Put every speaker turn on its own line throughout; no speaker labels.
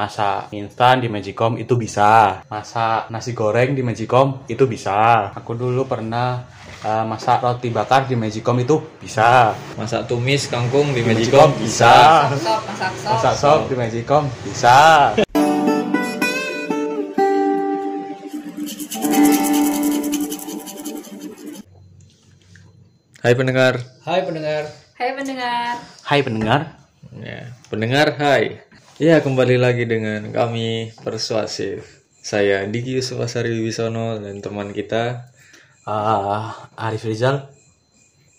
masak instan di Magicom itu bisa masak nasi goreng di Magicom itu bisa aku dulu pernah eh, masak roti bakar di Magicom itu bisa
Masak tumis kangkung
di
di Magicom bisa.
Sop, masak sop.
masak sop di Magicom bisa
Hai pendengar.
Hai pendengar.
Hai pendengar.
Hai pendengar
Ya, pendengar hai. Ya, kembali lagi dengan kami Persuasif. Saya Diki Supasari Wisono dan teman kita.
Ah, Arif Rizal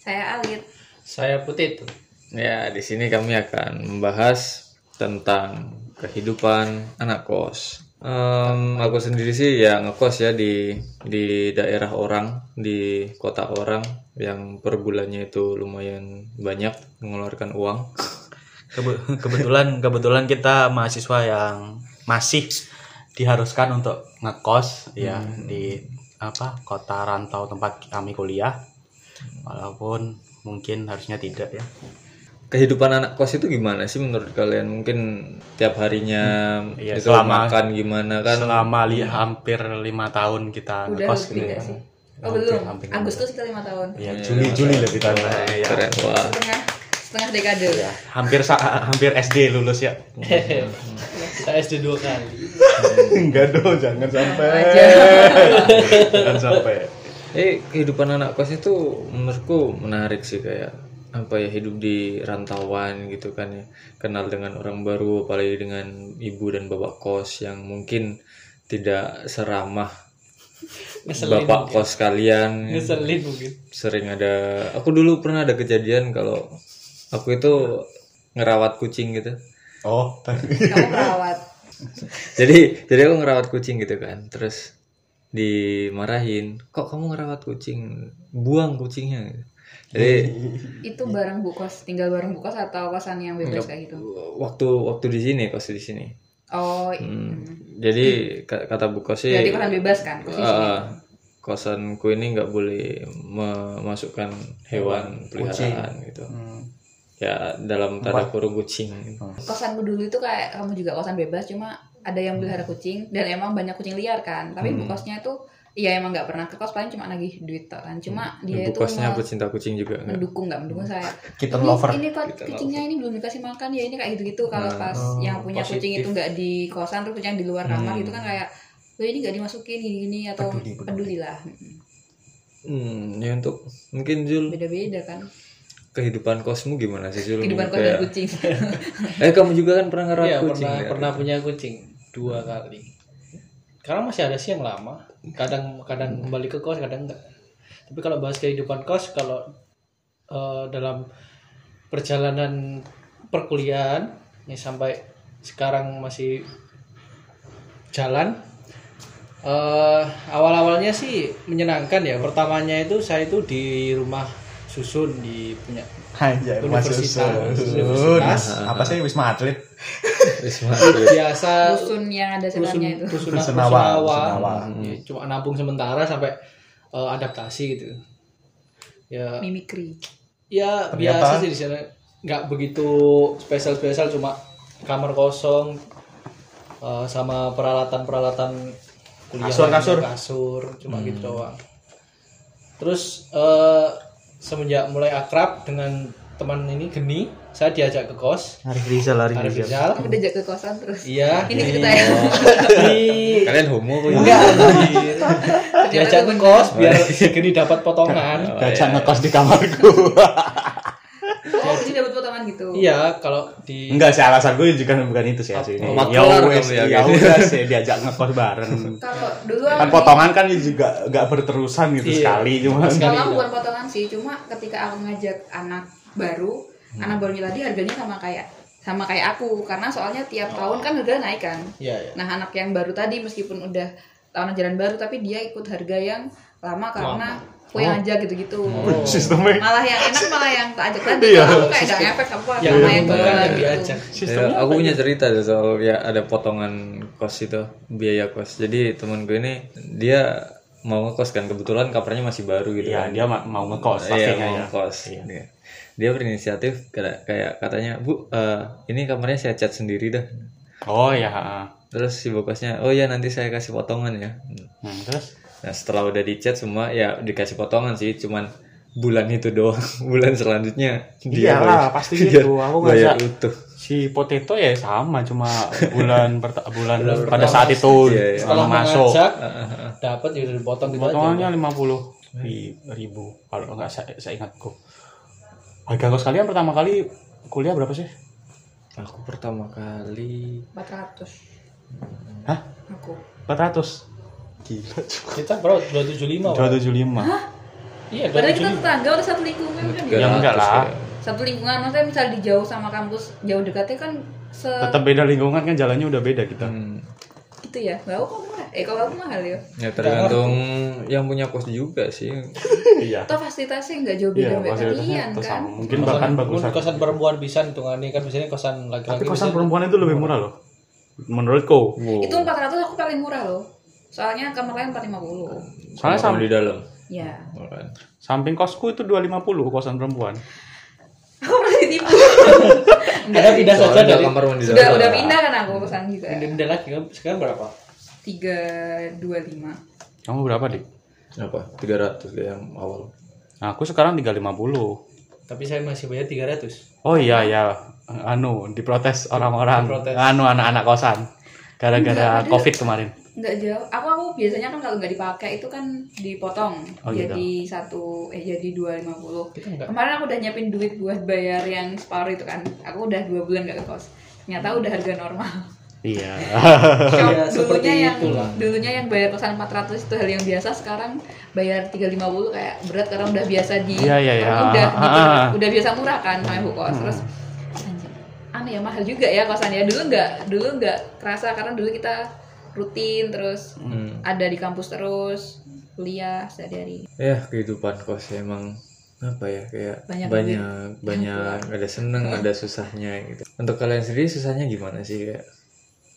Saya Alit.
Saya Putit.
Ya, di sini kami akan membahas tentang kehidupan anak kos. Em, aku sendiri sih ya ngekos ya di di daerah orang, di kota orang yang per bulannya itu lumayan banyak mengeluarkan uang.
Kebe- kebetulan kebetulan kita mahasiswa yang masih diharuskan untuk ngekos ya di apa kota rantau tempat kami kuliah walaupun mungkin harusnya tidak ya
kehidupan anak kos itu gimana sih menurut kalian mungkin tiap harinya
Iya,
itu
selama-
makan gimana kan
selama li- hampir lima tahun kita
Udah
ngekos
lebih
gitu ya
nggak sih? Oh
Hampir-
belum.
hampir enam
Agustus kita lima tahun.
ya Juli Juli lebih tahun ya.
keren wah
Setengah setengah dekade.
Ya, hampir sa- hampir SD lulus ya
Saya SD dua kali.
enggak dong Hmm. jangan sampai
Aja.
jangan sampai
eh kehidupan anak kos itu menurutku menarik sih kayak apa ya hidup di rantauan gitu kan ya kenal dengan orang baru apalagi dengan ibu dan bapak kos yang mungkin tidak seramah
Ngeselin.
bapak kos kalian
Ngeselin mungkin.
sering ada aku dulu pernah ada kejadian kalau aku itu ngerawat kucing gitu
oh
Kamu perawat.
jadi jadi aku ngerawat kucing gitu kan terus dimarahin kok kamu ngerawat kucing buang kucingnya gitu. jadi
Itu bareng bukos, tinggal bareng bukos atau kosan yang bebas kayak gitu.
waktu waktu di sini kos di sini
Oh, i-
Hmm, Iya. jadi ka- kata bu kos sih
berarti kosan bebas kan? Kos di sini.
eh, kosanku ini nggak boleh memasukkan hewan peliharaan gitu ya dalam tanda kurung kucing
Kosanku dulu itu kayak kamu juga kosan bebas, cuma ada yang pelihara kucing dan emang banyak kucing liar kan. Tapi bukosnya itu Iya emang nggak pernah ke kos paling cuma nagih duit tok kan. Cuma dia
Hmm. bu
itu
kosnya
nge-
pecinta kucing juga nggak
mendukung nggak mendukung saya
kita
ini,
lover
ini kok kucingnya ini belum dikasih makan ya ini kayak gitu gitu kalau pas
Oh,
yang punya kucing itu nggak di kosan terus kucing di luar kamar gitu kan kayak lo ini nggak dimasukin gini gini atau
Hmm. Peduli, peduli.
pedulilah
hmm, ya untuk mungkin Jul
beda beda kan
kehidupan kosmu gimana sih Jul?
kehidupan kos
Kayak-
dan kucing
Eh kamu juga kan pernah ngerawat
Iya
kucing
pernah
ya?
pernah punya kucing dua kali. Karena masih ada sih yang lama. Kadang kadang kembali ke kos, kadang enggak. Tapi kalau bahas kehidupan kos, kalau eh, dalam perjalanan perkuliahan ya sampai sekarang masih jalan eh awal-awalnya sih menyenangkan ya. Pertamanya itu saya itu di rumah susun di punya
Anjay, masuk
Universitas.
susun.
Universitas.
Apa sih Wisma Atlet?
Risma Atlet.
biasa
rusun yang ada
rusun
setannya itu
rusun
Rusun
rusun
awal,
awal.
rusun awal.
Hmm, ya, cuma nabung sementara sampai eh, adaptasi gitu ya
mimikri
ya biasa
Ternyata-
sih di sana nggak begitu spesial spesial cuma kamar kosong eh, sama peralatan peralatan kuliah
Kasur-kasur.
kasur cuma gitu doang terus eh, semenjak mulai akrab dengan teman ini Geni saya diajak ke kos
Arif Rizal,
Arif Rizal
aku diajak ke kosan terus
iya
ini cerita ya
di
Kalian homo kok ya?
Enggak anjir. Diajak Oh, iya. ke kos biar si Geni dapat potongan.
Gajah ngekos di kamarku.
oh jadi dapat potongan gitu
Iya, kalau di
Enggak sih alasan gue juga bukan itu sih asli.
Oh,
Ya
maklar
wes,
kamu ya,
ya
guys.
udah sih diajak ngekos bareng.
kalau dulu
Kan
aku-
potongan kan juga gak berterusan gitu
Iya.
sekali cuma.
Sekali.
Kalau aku
gitu.
bukan potongan sih, cuma ketika aku ngajak anak baru,
Hmm.
anak barunya tadi harganya sama kayak sama kayak aku karena
Oh.
soalnya tiap tahun kan harga naik kan.
Iya, iya.
Nah, anak yang baru tadi meskipun udah tahun ajaran baru tapi dia ikut harga yang lama karena kue yang aja gitu-gitu.
Sistemnya
Malah yang enak malah yang tak ajak tadi.
Oh. Iya.
Kalau Aku kayak gak ngefek apa
yang
sama yang baru
bukan yang
gitu.
diajak.
Ya,
Iya.
aku punya cerita tuh soal ya ada potongan kos itu biaya kos. Jadi teman gue ini dia mau ngekos kan kebetulan kamarnya masih baru gitu
Iya,
kan.
dia ma- mau ngekos
Iya,
pastinya
mau
ya.
ngekos. Dia- Dia berinisiatif kayak, kayak katanya, "Bu, eh, ini kamarnya saya cat sendiri dah."
Oh ya. ha.
Terus si bokosnya, oh ya nanti saya kasih potongan ya.
Hmm, terus
Nah setelah udah dicat semua ya dikasih potongan sih, cuman bulan itu doang. bulan selanjutnya
Iyalah,
bayar-
pasti
dia
gitu. Aku
bayar
ngerasa-
utuh.
si potato ya sama cuma bulan perta- bulan
Bulan
pada
pertama.
saat itu
Iya, iya.
setelah
masuk
mengajak dapat ya udah dipotong gitu aja
potongannya lima puluh ribu kalau nggak saya, saya ingatku harga kos kalian pertama kali kuliah berapa sih
Aku pertama kali
400
Hah?
aku
400 gila
kita bro
dua
275 Pak.
tujuh lima
iya
padahal kita
275
tetangga udah satu lingkungan kan ya
Ya, enggak lah.
satu lingkungan maksudnya misalnya di jauh sama kampus jauh dekatnya kan se
tetap beda lingkungan kan jalannya udah beda kita
Hmm.
gitu ya nggak kok murah eh kalau aku mahal ya
Ya tergantung yang punya kos juga sih.
iya
atau fasilitasnya nggak jauh
iya
beda dari
fasilitasnya
kalian
tetap
kan
sama mungkin bahkan bagus
kosan perempuan bisa hitungannya kan biasanya kosan
tapi
laki-laki
kosan
bisa-
perempuan itu lebih murah loh menurutku
Wow.
itu 400 aku paling murah loh soalnya kamar lain 450
soalnya
Sama
sam-
di dalam. kan?
ya
Alright.
samping kosku itu 250 kosan perempuan
aku pernah ditipu
ada pindah saja
Soalnya
dari
kamar mandi
sudah
dalam.
udah pindah kan aku pesan juga
pindah pindah lagi kan sekarang berapa
325
kamu berapa dik
Apa? 300 dia yang awal.
Nah, aku sekarang 350.
tapi saya masih bayar 300
Oh iya ya, anu diprotes orang-orang,
Diprotes.
anu anak-anak kosan gara-gara Covid kemarin.
nggak jauh aku aku biasanya kan kalau nggak dipakai itu kan dipotong
Oh, gitu.
jadi satu eh jadi 250
kita enggak
kemarin aku udah nyiapin duit buat bayar yang separuh itu kan aku udah dua bulan nggak ke kos ternyata udah harga normal
Iya.
Shock.
Ya, seperti
dulunya yang
itulah.
dulunya yang bayar kosan 400 itu hal yang biasa sekarang bayar 350 kayak berat karena udah biasa di
Iya, iya, iya.
karena udah
Ah,
gitu,
ah.
udah biasa murah kan sama ibu kos terus anjing, aneh ya mahal juga ya kosannya dulu nggak dulu nggak kerasa karena dulu kita rutin terus
Hmm.
ada di kampus terus kuliah sehari-hari
ya kehidupan kos emang apa ya kayak
Banyak
banyak banyak, ada seneng ada susahnya gitu untuk kalian sendiri susahnya gimana sih kayak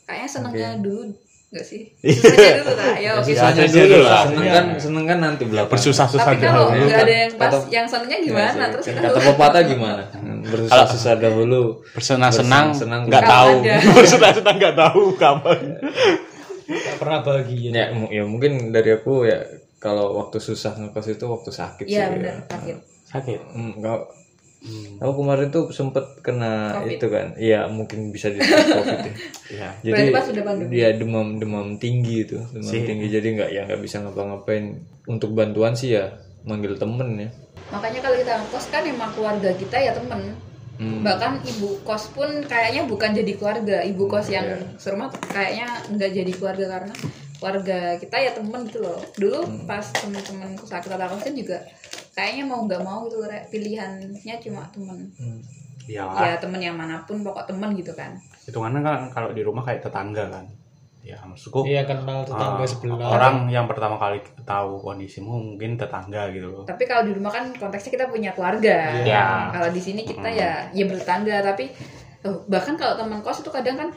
kayaknya senengnya dulu nggak sih
Iya.
susahnya dulu lah ya oke
susahnya
susah.
dulu lah. Iya. Ya,
seneng kan seneng kan nanti belakang
Bersusah-susah gitu.
tapi kalau
dahulu.
nggak ada yang pas
kan. Kata-
yang senengnya
Iya
gimana
sih.
terus kita
kata pepatah gimana bersusah susah dahulu
Bersenang-senang
Bersenang-senang
nggak
belum
tahu.
ada.
Bersenang-senang nggak tahu kapan.
enggak pernah bahagia
Iya.
ya mu- ya mungkin dari aku ya kalau waktu susah ngekos itu waktu sakit
iya
sih
benar
ya.
sakit
Sakit.
Hmm, kau-
Hmm.
aku kemarin tuh sempet kena
Covid.
itu kan iya mungkin bisa dibilang covid ya
Iya.
jadi
Berarti pas udah pandemi.
dia Iya, demam demam tinggi itu demam
Sih.
tinggi jadi nggak ya nggak bisa ngapa-ngapain untuk bantuan sih ya manggil temen ya
Makanya kalau kita ngekos kan emang keluarga kita ya temen
Hmm.
Bahkan ibu kos pun kayaknya bukan jadi keluarga Ibu kos yang
Iya.
serumah kayaknya nggak jadi keluarga karena keluarga kita ya temen gitu loh Dulu pas temen-temen sakit atau kosan juga kayaknya mau nggak mau gitu Re. pilihannya cuma temen
Iya.
Ya temen yang manapun pokok temen gitu kan
Hitungannya kan kalau di rumah kayak tetangga kan. Ya maksudku
iya kenal
ah,
tetangga sebelah
orang yang pertama kali tahu kondisimu mungkin tetangga gitu loh.
Tapi kalau di rumah kan konteksnya kita punya keluarga.
Iya.
Kalau di sini kita ya ya bertangga tapi oh, bahkan kalau teman kos itu kadang kan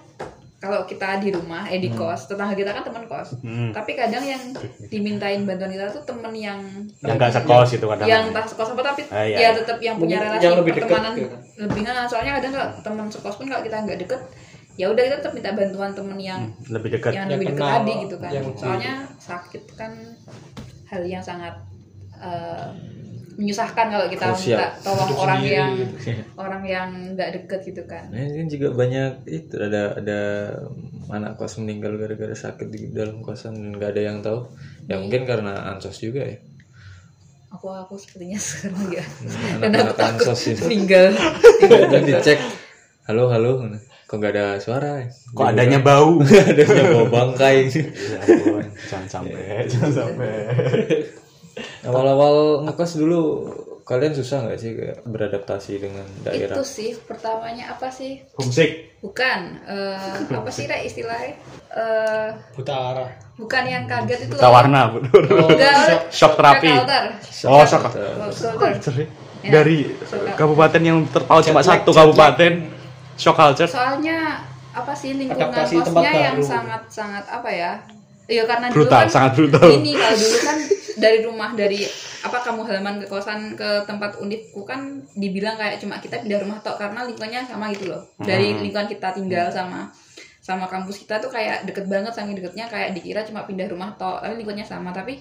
kalau kita di rumah eh di kos tetangga kita kan teman kos.
Hmm.
Tapi kadang yang dimintain bantuan kita tuh temen yang
Yang nggak sekos gitu kadang.
yang tak sekos apa tapi
Ah, iya,
ya
iya.
tetap yang punya
Mungkin
relasi
yang lebih dekat
pertemanan
gitu.
lebih nah, soalnya kadang kalau teman sekos pun kalau kita nggak deket ya udah kita tetap minta bantuan temen yang
lebih dekat.
yang
Yang
lebih dekat
kenal,
tadi gitu kan
yang-
soalnya sakit kan hal yang sangat eh, menyusahkan kalau kita
Krusial.
minta tolong
Hidup
orang
sendiri
yang
gitu.
orang yang nggak deket gitu kan
nah, ini juga banyak itu ada ada anak kos meninggal gara-gara sakit di dalam kosan dan nggak ada yang tahu ya mungkin karena ansos juga ya
aku aku sepertinya sekarang ya
Hmm.
dan
anak-anak
aku takut
ansos itu
meninggal
jadi dicek halo halo kok nggak ada suara ya?
Kok adanya bau?
ada bau bangkai
Ya ampun, jangan sampai, jangan sampai.
awal-awal ngekos dulu kalian susah nggak sih kayak beradaptasi dengan daerah
itu sih pertamanya apa sih
Homesick.
bukan eh, apa sih Ra, istilahnya Eh,
buta arah
bukan yang kaget itu
Buta warna, betul.
Enggak,
Shock therapy. Oh, shock. Culture.
Ya.
Dari kabupaten yang terpaut cuma satu kabupaten. Shock culture.
soalnya apa sih lingkungan
Adaptasi tempat
kosnya yang
baru.
sangat sangat apa ya Iya karena
Brutal,
dulu kan
sangat brutal.
ini kalau dulu kan dari rumah dari apa kamu halaman ke kosan ke tempat unitku kan dibilang kayak cuma kita pindah rumah tok karena lingkungannya sama gitu loh dari lingkungan kita tinggal sama sama kampus kita tuh kayak deket banget saking deketnya kayak dikira cuma pindah rumah toh tapi lingkungannya sama tapi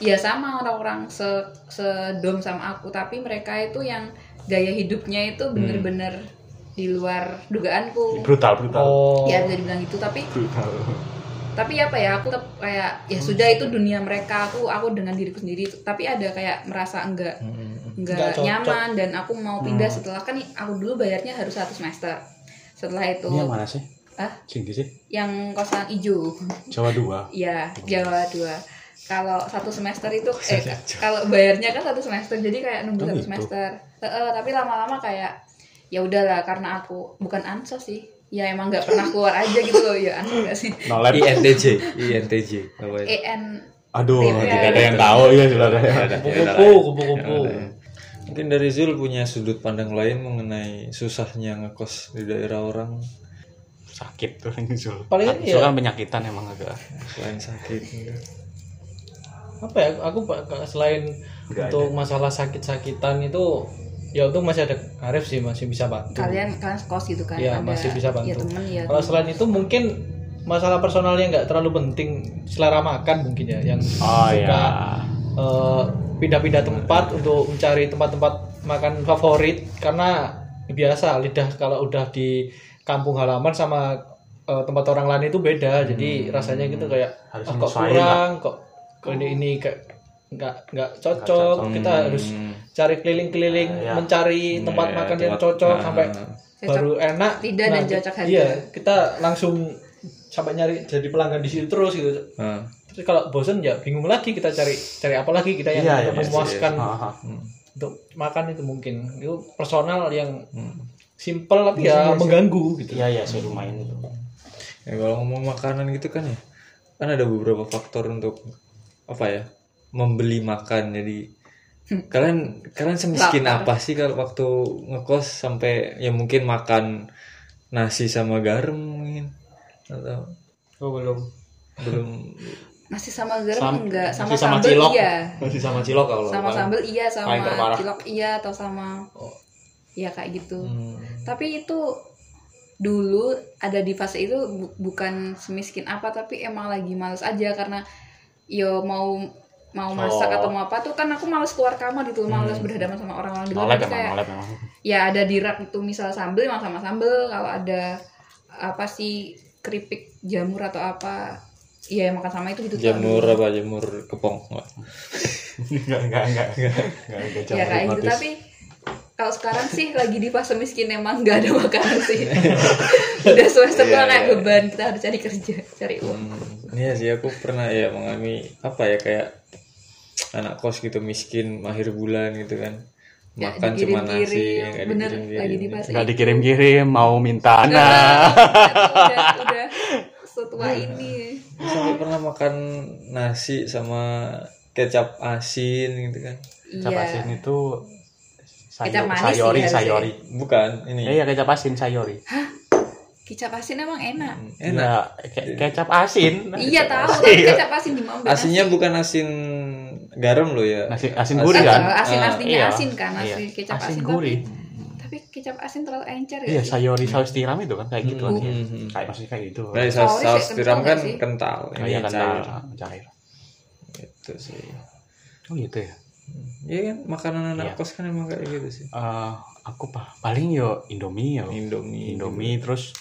ya sama orang-orang se sedom sama aku tapi mereka itu yang gaya hidupnya itu bener-bener di luar dugaanku
brutal brutal
oh
ya bisa dibilang gitu tapi
brutal
tapi apa ya aku tetap kayak ya
Hmm.
sudah itu dunia mereka aku aku dengan diriku sendiri tapi ada kayak merasa enggak
Nggak
Hmm.
enggak
cocok.
nyaman dan aku mau pindah setelah kan aku dulu bayarnya harus satu semester setelah itu
ini yang mana sih
Hah?
sini sih
yang kosan ijo
Jawa dua
ya Jawa dua kalau satu semester itu eh kalau bayarnya kan satu semester jadi kayak
Oh,
nunggu satu
gitu.
semester Heeh, tapi lama-lama kayak ya udahlah karena aku bukan ansos sih ya emang nggak pernah keluar aja gitu loh ya ansos nggak sih E
nolep
INTJ INTJ apa itu?
Eh,
Oh,
en
aduh
Iya.
tidak ada yang tahu ya sebenarnya
iya.
Ya udah, ya udah lah.
kupu-kupu kupu-kupu
Mungkin dari Zul punya sudut pandang lain mengenai susahnya ngekos di daerah orang
sakit tuh yang Zul
Paling
Ah, Zul
ya.
iya.
kan penyakitan emang agak
selain sakit.
apa ya aku pak- selain
Nggak
untuk masalah sakit-sakitan itu ya untung masih ada Arif sih masih bisa bantu
kalian kalian sekos gitu kan
Iya,
ada
masih bisa bantu.
ya temen ya
Kalau selain itu mungkin masalah personalnya nggak terlalu penting selera makan mungkin ya yang
oh
suka
ya
eh, pindah-pindah tempat untuk mencari tempat-tempat makan favorit karena biasa lidah kalau udah di kampung halaman sama eh, tempat orang lain itu beda jadi rasanya gitu kayak
Harus
"Ah, kok
nyesuaiin
kurang kok kok ini ini kayak nggak nggak cocok kita
Hmm.
harus cari keliling-keliling
Ya.
mencari tempat
Ya,
makan yang
tempat-
cocok
nah.
sampai
Cocok
baru enak
lidah dan
nah,
cocok hati.
iya kita langsung sampai nyari jadi pelanggan di situ terus gitu
Nah,
terus kalau bosen ya bingung lagi kita cari cari apa lagi kita yang
Iya, iya,
untuk
pasti,
Kan-
memuaskan
Haha.
Hmm,
untuk makan itu mungkin itu personal yang
hmm.
simple tapi ya mengganggu gitu
iya iya sih lumayan itu
ya kalau ngomong makanan gitu kan ya, kan ada beberapa faktor untuk apa ya membeli makan. Jadi kalian kalian semiskin apa sih kalau waktu ngekos sampai ya mungkin makan nasi sama garam mungkin atau
oh, belum
belum
nasi sama garam
Sam-
enggak sama,
nasi sama
sambal
cilok.
iya
masih sama cilok kalau
sama sambal iya sama
paling terparah.
cilok iya atau sama ya kayak gitu
hmm,
tapi itu dulu ada di fase itu bu- bukan semiskin apa tapi emang lagi males aja karena yo mau mau masak
Oh.
atau mau apa tuh kan aku males keluar kamar gitu males berhadapan sama orang-orang di luar
nolep
Jadi
emang
kayak-
nolep emang
ya ada di rak itu misal sambel emang sama sambel kalau ada apa sih keripik jamur atau apa ya yang makan sama itu gitu
jamur apa jamur kepong nggak?
enggak enggak enggak enggak enggak
ya kayak gitu tapi kalau sekarang sih lagi di fase miskin emang nggak ada makanan sih udah semester
Iya,
doang kayak
iya.
beban kita harus cari kerja cari uang
Hmm, iya sih aku pernah ya mengalami apa ya kayak anak kos gitu miskin akhir bulan gitu kan
Nggak
makan cuma nasi gitu.
dikirim-kirim,
yang nggak
bener lagi di
dikirim-kirim.
fase
nggak
itu.
dikirim-kirim mau minta
Nah,
anak
udah udah setua ini
sampai pernah makan nasi sama kecap asin gitu kan
kecap asin
iya
itu
Kecap
sayur,
manis sih
sayori
harusnya.
sayori
bukan ini
iya iya, kecap asin sayori
kicap asin emang enak
Hmm, enak
Nah, ke- kecap asin
iya tahu tapi kicap asin di Mambe
asinnya bukan asin garam loh ya
Nasi- asin gurih,
Asin,
kan?
asin
Ah,
aslinya asin kan, asin
Iya.
kecap asin,
asin
tapi-
gurih
Tapi kecap asin terlalu encer ya.
iya sayori saus tiram itu kan kayak gitu kan
Hmm.
iya.
Hmm.
kayak maksudnya kayak gitu
Nah, saus,
Sorry,
saus
saya
tiram
kental
kan
nggak sih?
kental ini
kayak kan
cair
cair
gitu sih
oh gitu ya
Iya kan makanan anak
Iya.
kos kan emang kayak gitu sih
Eh, aku pa- paling yo indomie yo
Indomie
indomie terus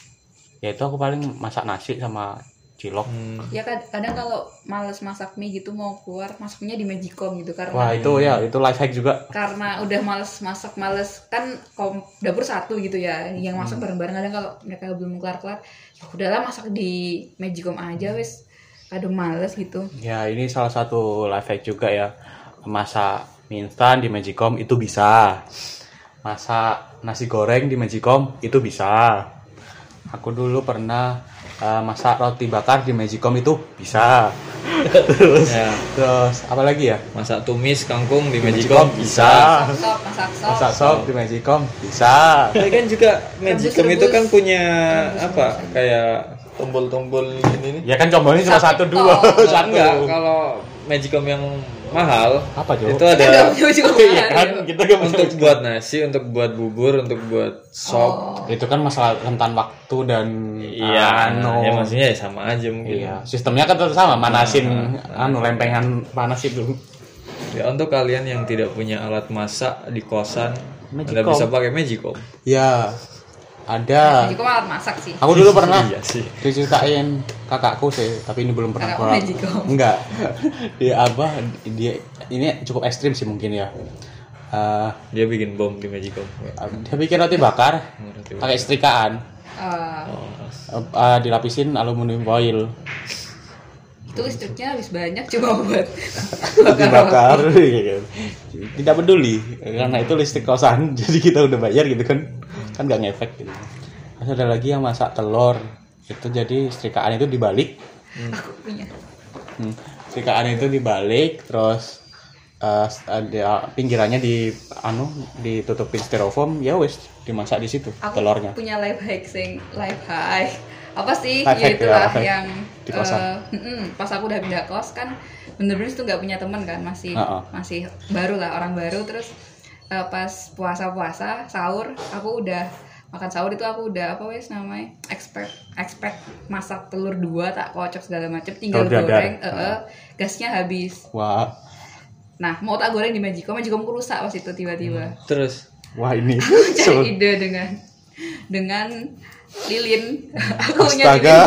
ya itu aku paling masak nasi sama cilok
Hmm.
Ya kad- kadang kalau males masak mie gitu mau keluar masaknya di Magicom gitu karena
wah itu ya itu life hack juga
karena udah males masak males kan kom dapur satu gitu ya yang
Hmm.
masak bareng-bareng kadang kalau mereka belum kelar-kelar ya udahlah masak di Magicom aja
Hmm.
wes kadang males gitu
ya ini salah satu life hack juga ya masak mie instan di magicom itu bisa masak nasi goreng di magicom itu bisa aku dulu pernah eh, masak roti bakar di magicom itu bisa terus
Ya.
terus apa lagi ya
masak tumis kangkung di
magicom
Magicom
bisa
sop masak sop
Ah. masak sop di magicom bisa
Tapi kan juga Magicom
Rebus-rebus.
itu kan punya apa kayak tombol-tombol ini nih.
Ya kan combonya cuma satu dua
Satu
satu.
Enggak, kalau magicom yang mahal
Apa, Jo?
itu ada
juga
Iya kan kita gak
untuk buat nasi, untuk buat bubur, untuk buat sop.
Oh,
itu kan masalah rentan waktu dan
Oh. Iya,
anu.
ya maksudnya ya sama aja mungkin.
Iya, sistemnya kan tetap sama, manasin
Iya.
anu lempengan panas itu.
Ya untuk kalian yang tidak punya alat masak di kosan, Anda
Magicom.
bisa pakai magicom.
Ya, ada. Ah.
Jadi kok alat masak sih.
Aku Oh, dulu pernah
Iya sih.
diceritain kakakku sih, tapi ini belum pernah
Kakakmu magicom.
Enggak. Dia apa? Dia ini cukup ekstrim sih mungkin ya. Eh,
Dia bikin bom di magicom.
dia bikin roti bakar pakai setrikaan,
Eh,
Eh, eh, dilapisin aluminium foil,
itu listriknya habis banyak cuma buat
dibakar. gitu. Tidak peduli karena itu listrik kosan, jadi kita udah bayar gitu kan, kan nggak ngefek gitu. Terus ada lagi yang masak telur, itu jadi setrikaan itu dibalik,
aku punya
Hmm. Sikaan itu dibalik terus eh, ada pinggirannya di anu ditutupin styrofoam ya wes dimasak di situ
aku
telurnya.
punya life hack sing life hack apa sih
Life hack,
ya itulah
ya, life hack.
yang
Di kosan.
eh, mm-mm, pas aku udah pindah kos kan bener-bener itu nggak punya teman kan masih
Ha-ha.
masih baru lah orang baru terus eh, pas puasa-puasa sahur aku udah makan sahur itu aku udah apa wes namanya expert expert masak telur dua tak kocok segala macem tinggal
Telur dadar.
goreng eh, eh, gasnya habis
Wah,
nah mau tak goreng di Magicom Magicomku rusak pas itu tiba-tiba
Hmm.
Terus
wah ini.
cari ide dengan dengan lilin aku punya
Astaga.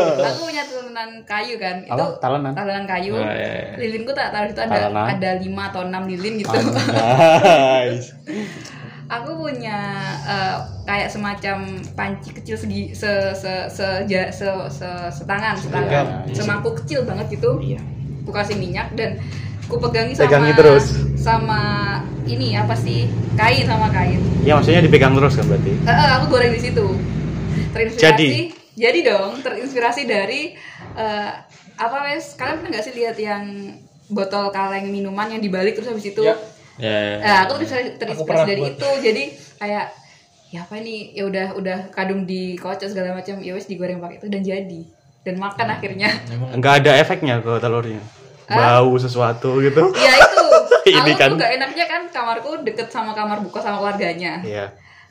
lilin aku punya talenan kayu kan itu
Apa? Talenan?
talenan
Oh,
kayu
iya, iya.
lilinku tak taruh itu ada
Talenan.
ada lima atau enam lilin gitu
Nice.
aku punya eh, kayak semacam panci kecil segi se se se ja- se, se- setangan setangan
Iya, iya.
semangkuk kecil banget gitu
Iya.
ku kasih minyak dan ku pegangi sama
Pegangi terus.
sama ini apa sih kain sama kain
Ya maksudnya dipegang terus kan berarti.
Eh, eh, aku goreng di situ. Terinspirasi.
Jadi?
Jadi dong, terinspirasi dari eh, apa wes? Kalian pernah nggak sih lihat yang botol kaleng minuman yang dibalik terus habis itu?
Ya.
ya
Nah, aku terinspirasi, terinspirasi
pernah
dari
buat.
itu. Jadi kayak ya apa ini? Ya udah udah kadung dikocok segala macam, ya wes digoreng pakai itu dan jadi dan makan
Hmm.
akhirnya.
Enggak ada efeknya ke telurnya. Bau sesuatu gitu.
ya itu.
Ini
aku
kan.
tuh nggak enaknya kan kamarku deket sama kamar buka sama keluarganya.
Iya.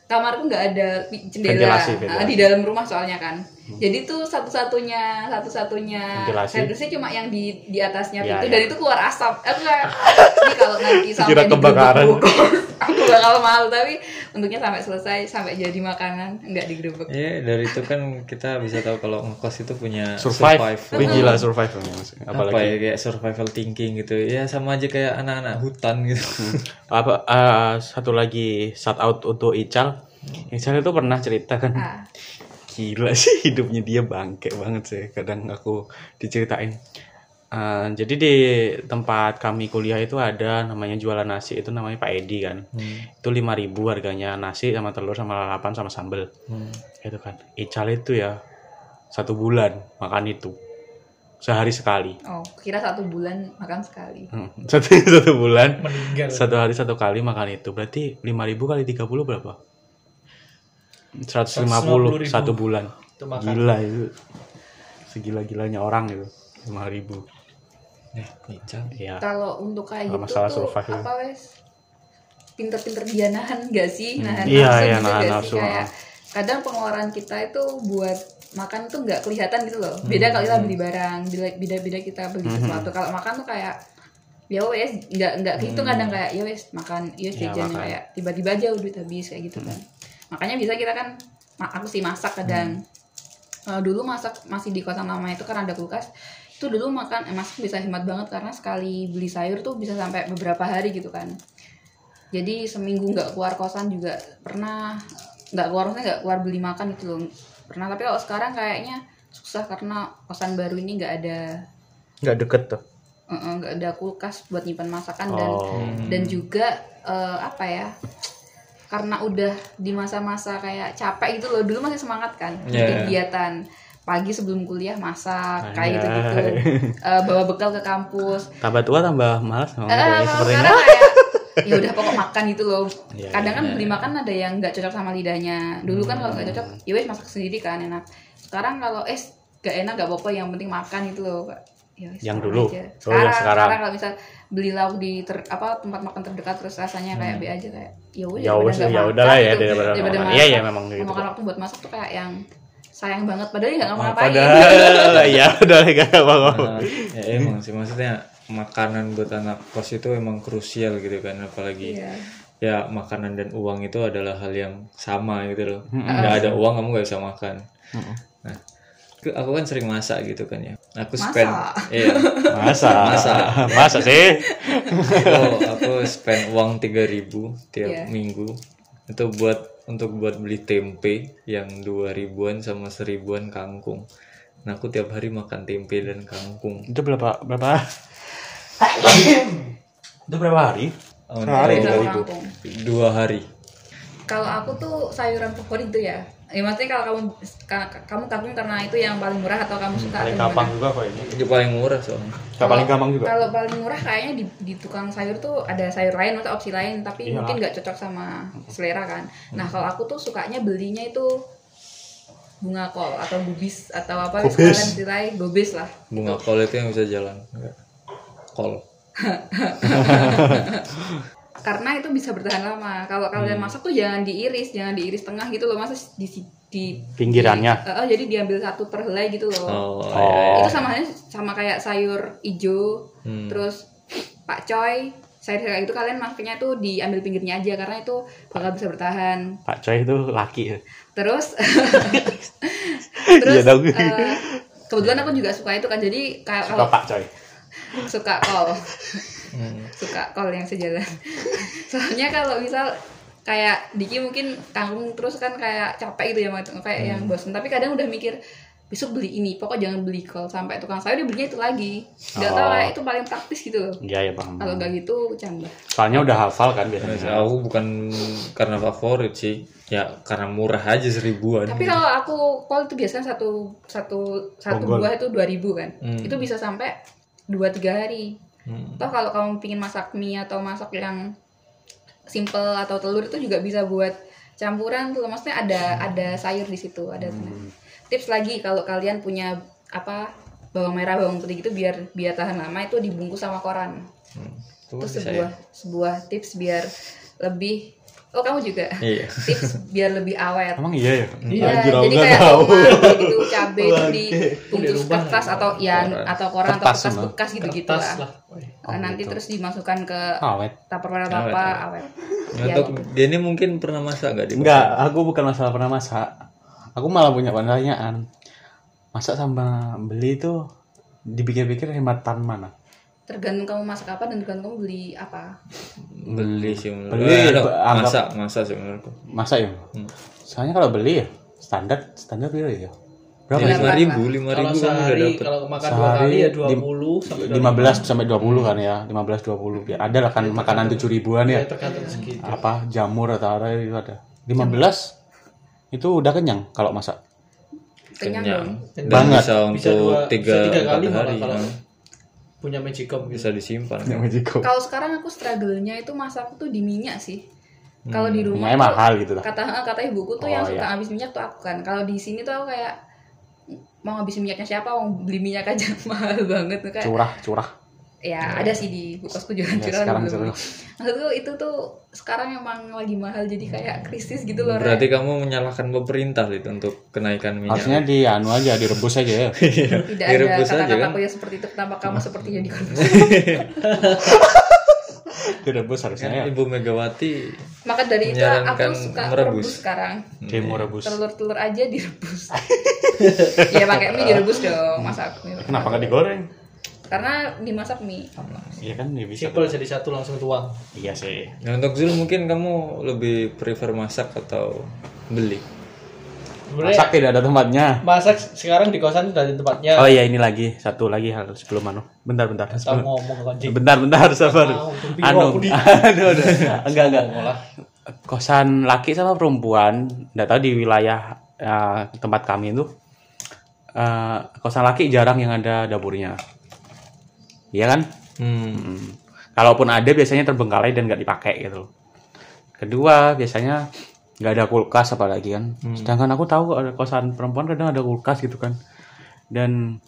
kamarku nggak ada pi- jendela
Ventilasi, ventilasi. Hmm.
Ah, di dalam rumah soalnya kan jadi tuh satu-satunya satu-satunya
Ventilasi.
ventilasi cuma yang di di atasnya
Ya,
pintu
ya.
dan itu keluar asap aku kayak ini kalau nanti sampai
Kira kebakaran.
digerebek, aku bakal malu tapi untungnya sampai selesai sampai jadi makanan nggak digerebek
Ya, dari itu kan kita bisa tahu kalau ngekos itu punya
Survive. Wih,
survival.
gila survive ini, Mas.
Apa
Apalagi
ya kayak survival thinking gitu. Ya sama aja kayak anak-anak hutan gitu.
apa eh, satu lagi shout out untuk Ical. Ical itu pernah cerita kan.
Ah,
gila sih hidupnya dia bangke banget sih kadang aku diceritain Eh, jadi di tempat kami kuliah itu ada namanya jualan nasi itu namanya Pak Edi kan
Hmm.
itu 5000 harganya nasi sama telur sama lalapan sama sambel
Hmm.
itu kan Ical itu ya satu bulan makan itu sehari sekali
oh kira satu bulan makan sekali
Hmm, satu satu bulan
meninggal
satu hari satu kali makan itu berarti 5000 kali 30 berapa 150
150.000.
satu bulan
itu makan
gila itu segila-gilanya orang itu lima ribu
Ya, Ical.
ya
kalau untuk kayak
Kalau
gitu
masalah
tuh
survive itu.
apa wes pinter-pinter dia nahan nggak sih nahan
Iya,
nafsu
iya,
gitu
nahan
nggak
nafsu,
sih kayak kadang pengeluaran kita itu buat makan tuh nggak kelihatan gitu
Hmm.
loh beda kalau kita beli barang beda beda, beda kita beli sesuatu kalau makan tuh kayak ya wes nggak nggak gitu
Hmm.
kadang kayak ya wes makan ya wes
Iya,
jajan
makan. Hmm.
kayak tiba-tiba aja duit habis kayak gitu kan makanya bisa kita kan ma- aku sih masak kadang
Hmm.
Kalau dulu masak masih di kosan lama itu kan ada kulkas itu dulu makan eh, masak bisa hemat banget karena sekali beli sayur tuh bisa sampai beberapa hari gitu kan jadi seminggu nggak keluar kosan juga pernah nggak keluar maksudnya nggak keluar beli makan gitu loh pernah tapi kalau sekarang kayaknya susah karena kosan baru ini nggak ada
nggak deket tuh
eh, eh, nggak ada kulkas buat nyimpan masakan dan
oh
Hmm.
dan juga eh, apa ya karena udah di masa-masa kayak capek gitu loh dulu masih semangat kan
Iya.
kegiatan pagi sebelum kuliah masak
Anjay.
kayak gitu gitu bawa bekal ke kampus
tambah tua tambah malas memang
Eh,
kayak
kalau
Oh, iya, seperti ini
sekarang kayak ya udah pokok makan gitu loh
Iya, Hmm.
kadang kan beli makan ada yang nggak cocok sama lidahnya dulu kan kalau nggak cocok ya wes masak sendiri kan enak sekarang kalau es gak enak gak apa-apa yang penting makan gitu loh Ya, wes,
Yang
sekarang
dulu. Oh,
aja.
yang
Sekarang,
sekarang.
sekarang. kalau misal beli lauk di ter- apa tempat makan terdekat terus rasanya kayak B aja kayak ya
Hmm.
udah
ya udah ya
daripada nggak makan
udahlah ya
gitu.
daripada
Daripada
makan.
makan.
Iya ya memang gitu.
makan
kok.
waktu buat masak tuh kayak yang sayang banget padahal ya nggak ngapa-ngapain
Padahal ya udah enggak apa-apa.
Nah, ya emang sih maksudnya makanan buat anak kos itu emang krusial gitu kan apalagi
Iya.
ya makanan dan uang itu adalah hal yang sama gitu loh nggak ada uang kamu nggak bisa makan nah ke- aku kan sering masak gitu kan ya aku spend iya
Masa.
Masa.
Masa sih.
aku, aku spend uang 3000 tiap
Iya.
minggu itu buat untuk buat beli tempe yang dua ribuan sama seribuan kangkung nah aku tiap hari makan tempe dan kangkung
Itu berapa berapa? itu berapa hari? Sehari.
Oh, dua
Berapa
ribu.
kangkung?
dua hari
kalau aku tuh sayuran favorit tuh ya ya maksudnya kalau kamu ka- kamu kagum karena itu yang paling murah atau kamu suka
Hmm, Paling
atau
gampang
gimana?
juga kok ini.
itu paling murah soalnya
Nggak paling gampang juga.
kalau paling murah kayaknya di, di tukang sayur tuh ada sayur lain atau opsi lain tapi
Iyalah.
mungkin nggak cocok sama
Hmm.
selera kan nah kalau aku tuh sukanya belinya itu bunga kol atau gubis atau apa
Gubis.
sekalian nilai gobis lah
bunga kol itu yang bisa jalan Enggak. kol
karena itu bisa bertahan lama. Kalau
Hmm.
kalian masak tuh jangan diiris, jangan diiris tengah gitu loh, masa di di
Pinggirannya.
Eh, eh, jadi diambil satu per helai gitu loh.
oh,
Oh.
iya, iya.
Itu sama halnya sama kayak sayur ijo,
Hmm.
terus pak coy, sayur sayur itu kalian makanya tuh diambil pinggirnya aja karena itu bakal bisa bertahan.
Pak Coy itu laki. ya?
Terus
Iya,
terus
tahu.
eh, kebetulan aku juga suka itu kan. Jadi kayak
Suka
kalau
Pak Coy.
suka kol.
Hmm.
suka kol yang sejalan soalnya kalau misal kayak Diki mungkin tanggung terus kan kayak capek gitu ya sama itu, kayak yang bosan tapi kadang udah mikir besok beli ini pokok jangan beli kol sampai tukang sayur dia belinya itu lagi nggak tahu
Oh.
kayak itu paling praktis gitu loh
Iya ya paham.
kalau nggak gitu cambah
Soalnya udah hafal kan
Terus
biasanya.
aku bukan karena favorit sih ya karena murah aja seribuan
tapi kalau aku kol itu biasanya satu satu satu
Bonggol.
buah itu 2000 kan
Hmm.
itu bisa sampai dua tiga hari
Hmm.
Toh kalau kamu pingin masak mie atau masak yang simple atau telur itu juga bisa buat campuran tuh. Maksudnya ada ada sayur di situ, ada
Hmm. Iya,
tips lagi kalau kalian punya apa bawang merah, bawang putih gitu biar biar tahan lama itu dibungkus sama koran.
Hmm. Itu
Oh,
Itu
bisa
sebuah
ya?
sebuah tips biar lebih Oh, kamu juga.
iya
tips biar lebih awet.
Emang iya ya?
Iya,
Anjir, aku
jadi
nggak
kayak
tahu.
tomat gitu, cabai itu dibungkus
Dirubah.
kertas atau ya
Koran.
atau koran atau
Kertas
kertas
sama.
bekas gitu-gitu
kertas
lah.
lah woy.
Oh,
nanti
gitu.
terus dimasukkan ke
Awet.
tupperware apa
Awet,
apa
awet.
awet. Ya,
untuk dia ini mungkin pernah masak nggak di
Enggak, aku bukan masalah pernah masak. Aku malah punya pertanyaan. Masak sama beli itu dipikir-pikir hematan mana?
tergantung kamu masak apa dan tergantung kamu beli apa.
beli sih menurut
Beli,
Eh, no,
anggap-
masak masak sih menurutku
Masak ya?
Hmm.
Soalnya kalau beli ya standar standar berapa ya? Berapa ya?
lima ribu lima
kalau
ribu kan udah
sehari
dapet
kalau makan dua
Sehari
kali ya
lim-
20 sampai
15 sampai 20 kan ya. 15 20 ya. Ada lah kan makanan 7 ribuan ya.
ya tergantung segitu
Apa jamur atau apa itu ada. 15 itu udah kenyang kalau masak.
Kenyang,
kenyang dan
dong.
Banget.
bisa
bisa
untuk
dua
tiga
bisa tiga
empat
kali malah
hari
kalau
kan.
punya magicom gitu
bisa disimpan
Yang magical.
Kalau sekarang aku struggle-nya itu masak tuh di minyak sih.
Hmm.
Kalau di rumah
Lumayan
tuh-
mahal gitu lah.
kata eh, kata ibuku
Oh,
tuh yang suka
iya.
habis minyak tuh aku kan. Kalau di sini tuh aku kayak mau habisin minyaknya siapa, mau beli minyak aja mahal banget tuh kayak.
Curah, curah.
iya.
Ya, ada sih di kulkasku juga
Ya, sekarang
belum.
curah.
Maksudku itu tuh sekarang emang lagi mahal jadi kayak krisis gitu loh.
ya.
Ren.
berarti kamu menyalahkan pemerintah itu untuk kenaikan minyak
Harusnya di anu aja direbus aja ya.
tidak ada
direbus aja
kata-kata
kan
aku yang seperti itu kenapa kamu seperti jadi korban
direbus harusnya
Kan
ya.
Ibu Megawati
maka dari itu aku
Menyarankan
suka
merebus.
merebus sekarang
Demo rebus.
telur-telur aja direbus ya pakai mie direbus dong masak mie
Eh, Kenapa nggak digoreng?
karena dimasak mie
Iya kan ya bisa.
simple jadi satu langsung tuang
Iya sih.
Nah, untuk Zul mungkin kamu lebih prefer masak atau beli?
sebenarnya
Masak tidak ada tempatnya.
ya? masak sekarang di kosan sudah ada tempatnya
Oh iya ini lagi satu lagi hal sebelum anu. Bentar bentar.
kita ngomong kan
Bentar bentar sabar.
Mau, tapi
Anu.
aku di-
Anu udah. Enggak enggak.
Ngomong lah.
Kosan laki sama perempuan, enggak tahu di wilayah eh, tempat kami itu eh, kosan laki jarang yang ada dapurnya. Iya kan?
Hmm.
Hmm. Kalaupun ada biasanya terbengkalai dan nggak dipakai gitu. loh. Kedua biasanya nggak ada kulkas apalagi kan. Sedangkan aku tahu ada kosan perempuan kadang ada kulkas gitu kan. Dan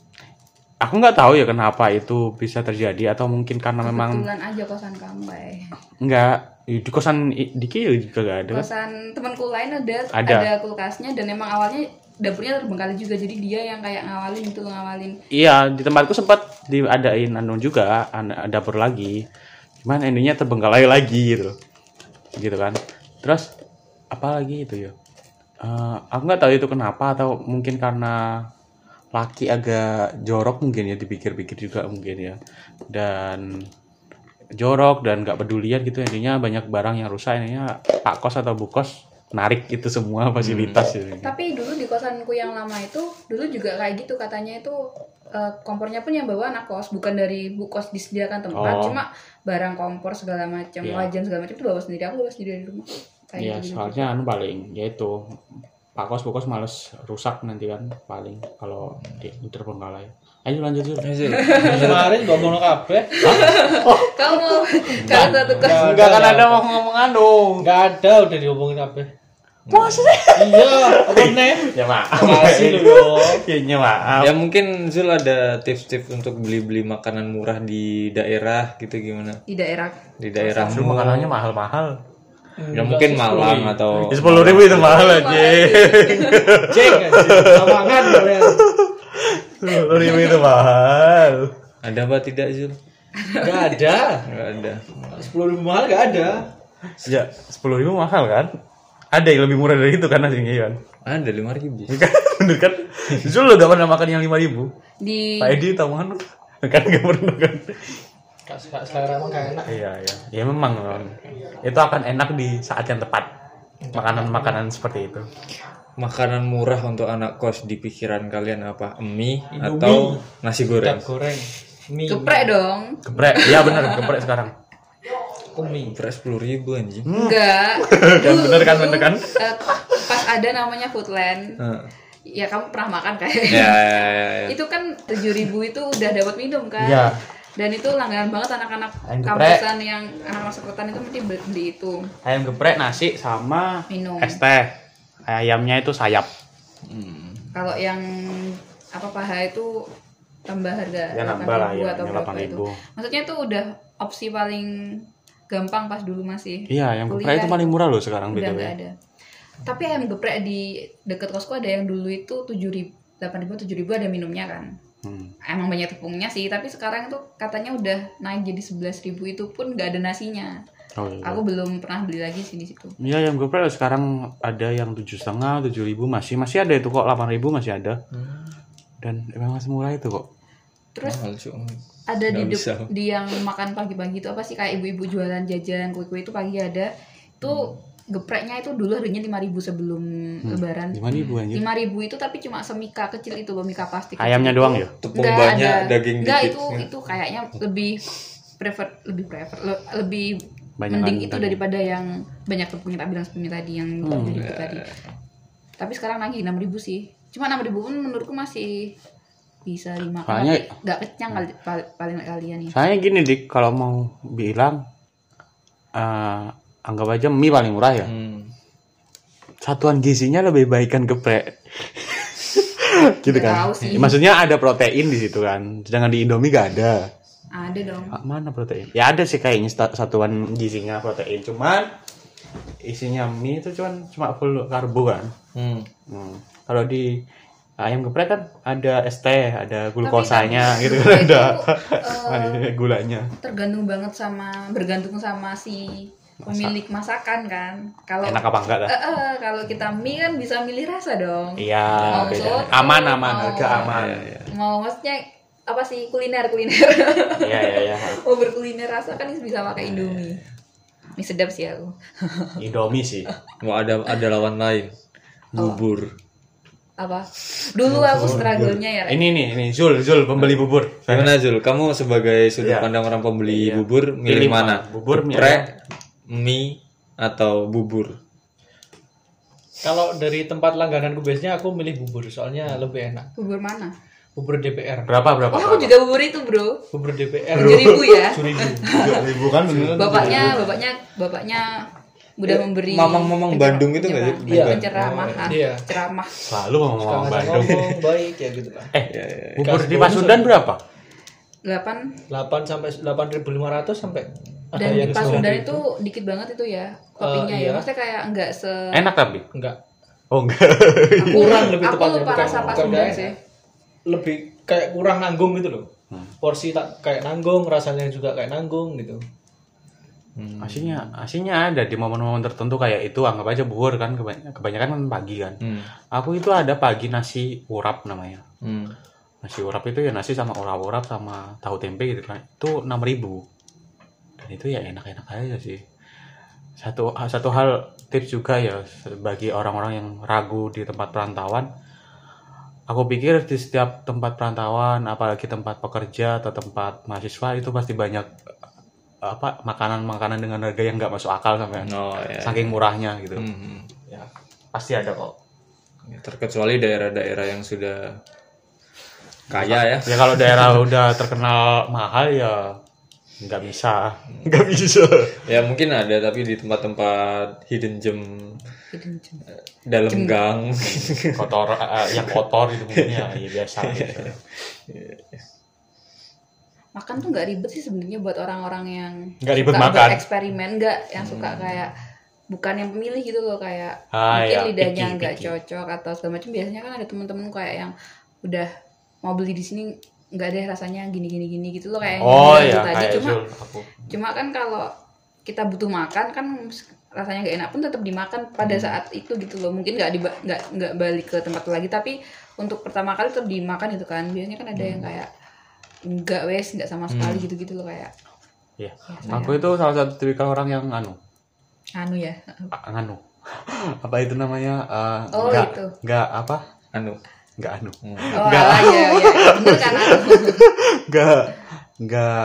aku nggak tahu ya kenapa itu bisa terjadi atau mungkin karena memang
Kebetulan aja kosan kamu, Bay.
nggak di kosan I- Diki juga nggak ada kan?
Kosan temanku lain ada,
Ada.
ada kulkasnya dan emang awalnya dapurnya terbengkalai juga jadi dia yang kayak ngawalin gitu ngawalin
Iya, di tempatku sempat diadain anu juga, an- dapur lagi. Cuman endingnya terbengkalai lagi gitu. Gitu kan. Terus apa lagi itu ya? Eh, aku nggak tahu itu kenapa atau mungkin karena laki agak jorok mungkin ya dipikir-pikir juga mungkin ya. Dan jorok dan nggak pedulian gitu endingnya banyak barang yang rusak endingnya pak kos atau bukos narik itu semua fasilitas gitu.
Tapi dulu di kosanku yang lama itu, dulu juga kayak gitu katanya itu eh, kompornya pun yang bawa anak kos, bukan dari bu kos disediakan tempat,
Oh.
cuma barang kompor segala macam,
Iya.
wajan segala macam itu bawa sendiri, aku bawa sendiri dari rumah. Kayak
Iya,
gitu.
soalnya anu paling yaitu Pak Kos Pak Kos males rusak nanti kan paling kalau di terbengkalai. Ayo lanjut Zul.
Ini sih.
kemarin ngomong kabeh
Nah.
Kamu kalau satu kos
Enggak,
Enggak kan
enggak.
ada mau ngomong anu.
nggak ada udah diomongin kabeh
Maksudnya?
iya apa nih
Ya maaf.
makasih lu
Ya ya, maaf.
Ya mungkin Zul ada tips-tips untuk beli-beli makanan murah di daerah gitu gimana?
di daerah
Di daerah
Zul makanannya mahal-mahal.
Ya mungkin Malang atau
Sepuluh ribu itu mahal aja.
cek lawangan kalian
Sepuluh ribu itu mahal.
ada apa tidak Zul?
nggak ada
Enggak ada.
sepuluh ribu mahal nggak ada
Ya sepuluh ribu mahal kan? Ada yang lebih murah dari itu kan aslinya kan?
Ada 5000.
Kan bener kan? Zul lo gak pernah makan yang lima ribu?
di
Pak Edi tahu kan? Kan gak pernah kan?
Nggak suka selera emang nggak enak
Iya, iya. Ya memang, memang. Itu akan enak di saat yang tepat. Makanan-makanan seperti itu.
Makanan murah untuk anak kos di pikiran kalian apa? Mie atau nasi
Minyak
goreng?
goreng mie
geprek dong.
Geprek. Iya benar, geprek sekarang.
mie
Beras 10000 anjing.
Enggak.
Kan Hmm. bener kan, bener kan?
Eh, pas ada namanya Foodland.
Nah.
Heeh.
Ya kamu pernah makan
Iya.
kayak.
Ya, ya, ya, ya.
Itu kan 7000 itu udah dapat minum kan.
Iya.
Dan itu langganan banget anak-anak
Ayam
kampusan yang anak-anak sekretan itu mesti beli beli itu.
Ayam geprek, nasi, sama
Minum.
es teh. Ayamnya itu sayap.
Kalau yang apa paha itu tambah harga
Ya, nambah lah,
8.000
ya,
atau
ya,
berapa itu.
8.000.
Maksudnya itu udah opsi paling gampang pas dulu masih.
Iya, ayam
Kuliah
geprek itu paling murah loh sekarang
udah nggak
BTW.
ada. Tapi ayam geprek di deket kosku ada yang dulu itu 7000 8000 7000 ada minumnya kan.
Hmm.
Emang banyak tepungnya sih, tapi sekarang itu katanya udah naik jadi 11.000 itu pun nggak ada nasinya.
Oh, iya.
Aku belum pernah beli lagi sih di situ.
Iya, ayam geprek sekarang ada yang tujuh setengah, tujuh ribu masih masih ada itu kok, delapan ribu masih ada. Dan memang semurah itu kok.
Terus
Mahal, cuy.
ada di,
Nggak
dep-
bisa.
di yang makan pagi-pagi itu apa sih kayak ibu-ibu jualan jajan kue-kue itu pagi ada itu gepreknya itu dulu harganya 5000 sebelum
Hmm.
lebaran
Gimana ibu
Iya.
anjir?
5000 itu tapi cuma semika kecil itu loh mika plastik kecil
Ayamnya
itu.
doang ya?
Tepung
Nggak
banyak,
ada.
daging
Nggak,
dikit.
itu itu kayaknya lebih prefer lebih prefer le- lebih
Banyakan
mending itu
tadi. Hmm.
daripada yang banyak tepungnya tak bilang sebelumnya tadi yang tujuh
Iya,
ribu tadi tapi sekarang lagi 6000 sih cuma 6000 pun menurutku masih bisa lima
Soalnya-
kali nggak kenyang kali, pal- paling kalian ya
Saya gini dik, kalau mau bilang eh, anggap aja mie paling murah ya.
Hmm.
Satuan gizinya lebih baikan geprek. gitu kan.
Tahu sih.
Ya, Maksudnya ada protein di situ kan. Sedangkan di Indomie gak ada.
ada dong
Ah, mana protein? Ya ada sih kayaknya sta- satuan gizinya protein. Cuman isinya mie itu cuman cuma full karbo kan.
Hmm.
Hmm. Kalau di ayam geprek kan ada ST, ada glukosanya
tapi Oh.
gitu kan
geprek
ada
itu, eh,
ada gulanya.
tergantung banget sama bergantung sama si pemilik masakan kan kalau
Enak apa enggak lah?
Eh, eh, kalau kita mie kan bisa milih rasa dong
Iya,
Mau
beda.
soto,
Aman aman,
mau-
harga aman. Iya,
Ya, ya.
mau maksudnya apa sih kuliner kuliner
Iya iya iya.
mau berkuliner rasa kan bisa pakai indomie mie sedap sih aku
Indomie sih.
Mau ada ada lawan lain.
Oh.
Bubur.
apa dulu aku struggle-nya ya Rek.
Iya, Ini nih, ini Zul, Zul pembeli bubur.
Gimana Zul? Kamu sebagai
Iya.
sudut pandang orang pembeli bubur milih mana?
Bubur mie. ayam.
Geprek, mie atau bubur?
kalau dari tempat langgananku biasanya aku milih bubur soalnya lebih enak
bubur mana
bubur DPR
Berapa berapa?
oh aku juga bubur itu bro
bubur DPR
tujuh ribu ya
Curi dulu.
Iya, kan Bukan beneran.
bapaknya bapaknya bapaknya mudah
Eh,
memberi
mamang-mamang Bandung itu nggak sih?
pencerah-
Iya.
penceramahan
Iya.
ceramah
Selalu
Suka
ngomong-ngomong
ngajak
Bandung.
ngomong baik ya gitu kan.
Eh,
Iya, iya.
bubur di
Kasbon.
Pasundan berapa?
8
8 sampai 8.500 sampai ada
dan di
yang
Pasundan
9.000.
itu dikit banget itu ya kopinya
iya.
ya maksudnya kayak nggak se
Enak tapi.
enggak
Hmm.
Oh enggak.
kurang lebih
aku
tepatnya,
lupa
bukan-
rasa
bukan
Pasundan
nggak
sih
lebih kayak kurang nanggung gitu loh.
Hmm.
Porsi tak kayak nanggung, rasanya juga kayak nanggung gitu.
Aslinya, aslinya ada di momen-momen tertentu kayak itu anggap aja buhur kan kebany- kebanyakan kan pagi kan.
Hmm.
Aku itu ada pagi nasi urap namanya.
Hmm.
Nasi urap itu ya nasi sama urap-urap sama tahu tempe gitu kan. Itu 6000. Dan itu ya enak-enak aja sih. Satu ah, satu hal tips juga ya bagi orang-orang yang ragu di tempat perantauan. Aku pikir di setiap tempat perantauan, apalagi tempat pekerja atau tempat mahasiswa itu pasti banyak eh, apa makanan-makanan dengan harga yang nggak masuk akal sampai
No, ya.
saking murahnya gitu.
Hmm. Ya,
Pasti ada kok.
Terkecuali daerah-daerah yang sudah kaya ya.
Ya kalau daerah udah terkenal mahal ya nggak bisa, nggak bisa.
Ya mungkin ada tapi di tempat-tempat hidden gem dalam gang.
Kotor, eh, yang kotor itu mungkin ya, ya biasa. Gitu.
makan tuh nggak ribet sih sebenarnya buat orang-orang yang
Nggak ribet
suka
makan. Hmm.
eksperimen nggak yang suka kayak bukan yang pemilih gitu loh kayak
Ah,
mungkin
ya,
lidahnya
picky,
nggak
picky.
cocok atau segala macam biasanya kan ada temen-temen kayak yang udah mau beli di sini nggak deh rasanya gini gini gini gitu loh kayak yang
Oh
bilang
ya,
tadi
kayak
cuma
Zul, aku.
cuma kan kalau kita butuh makan kan rasanya nggak enak pun tetap dimakan pada
Hmm.
saat itu gitu loh mungkin nggak diba- nggak nggak balik ke tempat lagi tapi untuk pertama kali tetap dimakan itu kan biasanya kan ada
Hmm.
yang kayak nggak wes nggak sama sekali gitu gitu loh kayak Ya,
Iya.
Biasanya.
Aku itu salah satu tipikal orang yang anu,
anu ya
a- anu. apa itu namanya? Eh,
Oh,
nggak,
itu.
nggak apa?
Anu.
Nggak anu.
oh ala ya ya bener kan anu
Nggak, nggak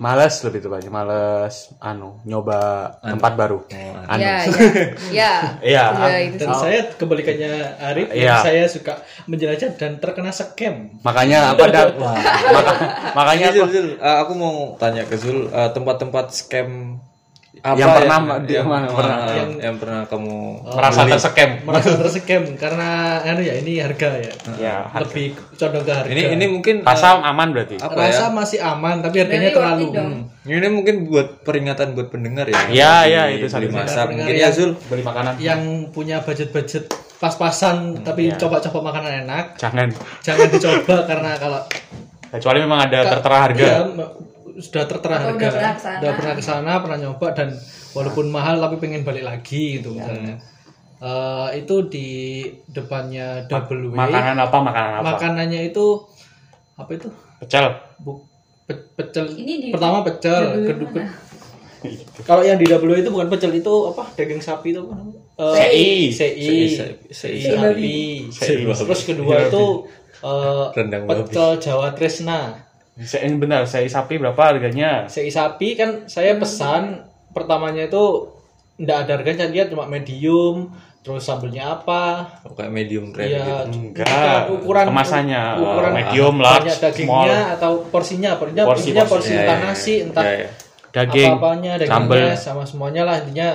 males lebih tepatnya males anu nyoba tempat baru. Anu.
ya ya ya
Iya,
Iya,
an-
itu
Dan saya kebalikannya Arif,
Iya.
saya suka menjelajah dan terkena scam.
Makanya apa dah? Maka- makanya
Ini
aku
Zul, Zul, eh, aku mau tanya ke Zul eh, tempat-tempat scam apa ya?
Yang pernah di-
yang,
yang pernah- Oh.
eh, yang, pernah kamu
merasa terskem.
Merasa tersekem karena anu ya ini harga ya.
Ya,
Lebih condong ke harga.
ini ini mungkin eh,
pasar aman berarti.
apa ya?
rasa masih aman tapi harganya
Berarti worth
terlalu
it
Hmm.
hmm.
dong.
Ini mungkin buat peringatan buat pendengar ya.
Iya,
Beli-
iya, itu satu iya.
beli masak
Pendengar
mungkin ya
yang-
Zul.
Beli makanan.
yang punya budget-budget pas-pasan
Hmm,
tapi
iya.
coba-coba makanan enak
Jangan.
jangan dicoba karena kalau
Kecuali memang ada tertera harga.
ya, me- sudah tertera
Atau udah
harga
pernah Nah. kesana.
udah pernah kesana pernah nyoba dan walaupun mahal tapi pengen balik
Iya.
lagi gitu misalnya Eh, itu di depannya double W
Makanan apa? Makanan apa?
makanannya itu apa itu
Pecel.
Bu- pe- pecel
Ini di-
pertama pecel kedua ke- kalau yang di double W itu bukan pecel itu apa daging sapi itu apa namanya? Eh,
Sei.
sei
Sei
sei babi
Sei babi.
terus kedua itu eh,
Rendang babi.
pecel Jawa Tresna
Saya ini benar, saya sapi berapa harganya?
sei sapi kan saya
Hmm.
pesan pertamanya itu ndak ada harganya dia cuma medium terus sambelnya apa
Oh, kayak medium rare
Iya.
gitu.
ya
Enggak. Kemasannya, eh, medium, large,
banyak dagingnya atau porsinya porsinya
Porsi,
porsinya
porsi. Iya,
porsi
Ya,
entah
ya,
nasi
ya.
entah
Ya, ya.
Daging,
apa-apanya
sambel.
dagingnya sama semuanya lah intinya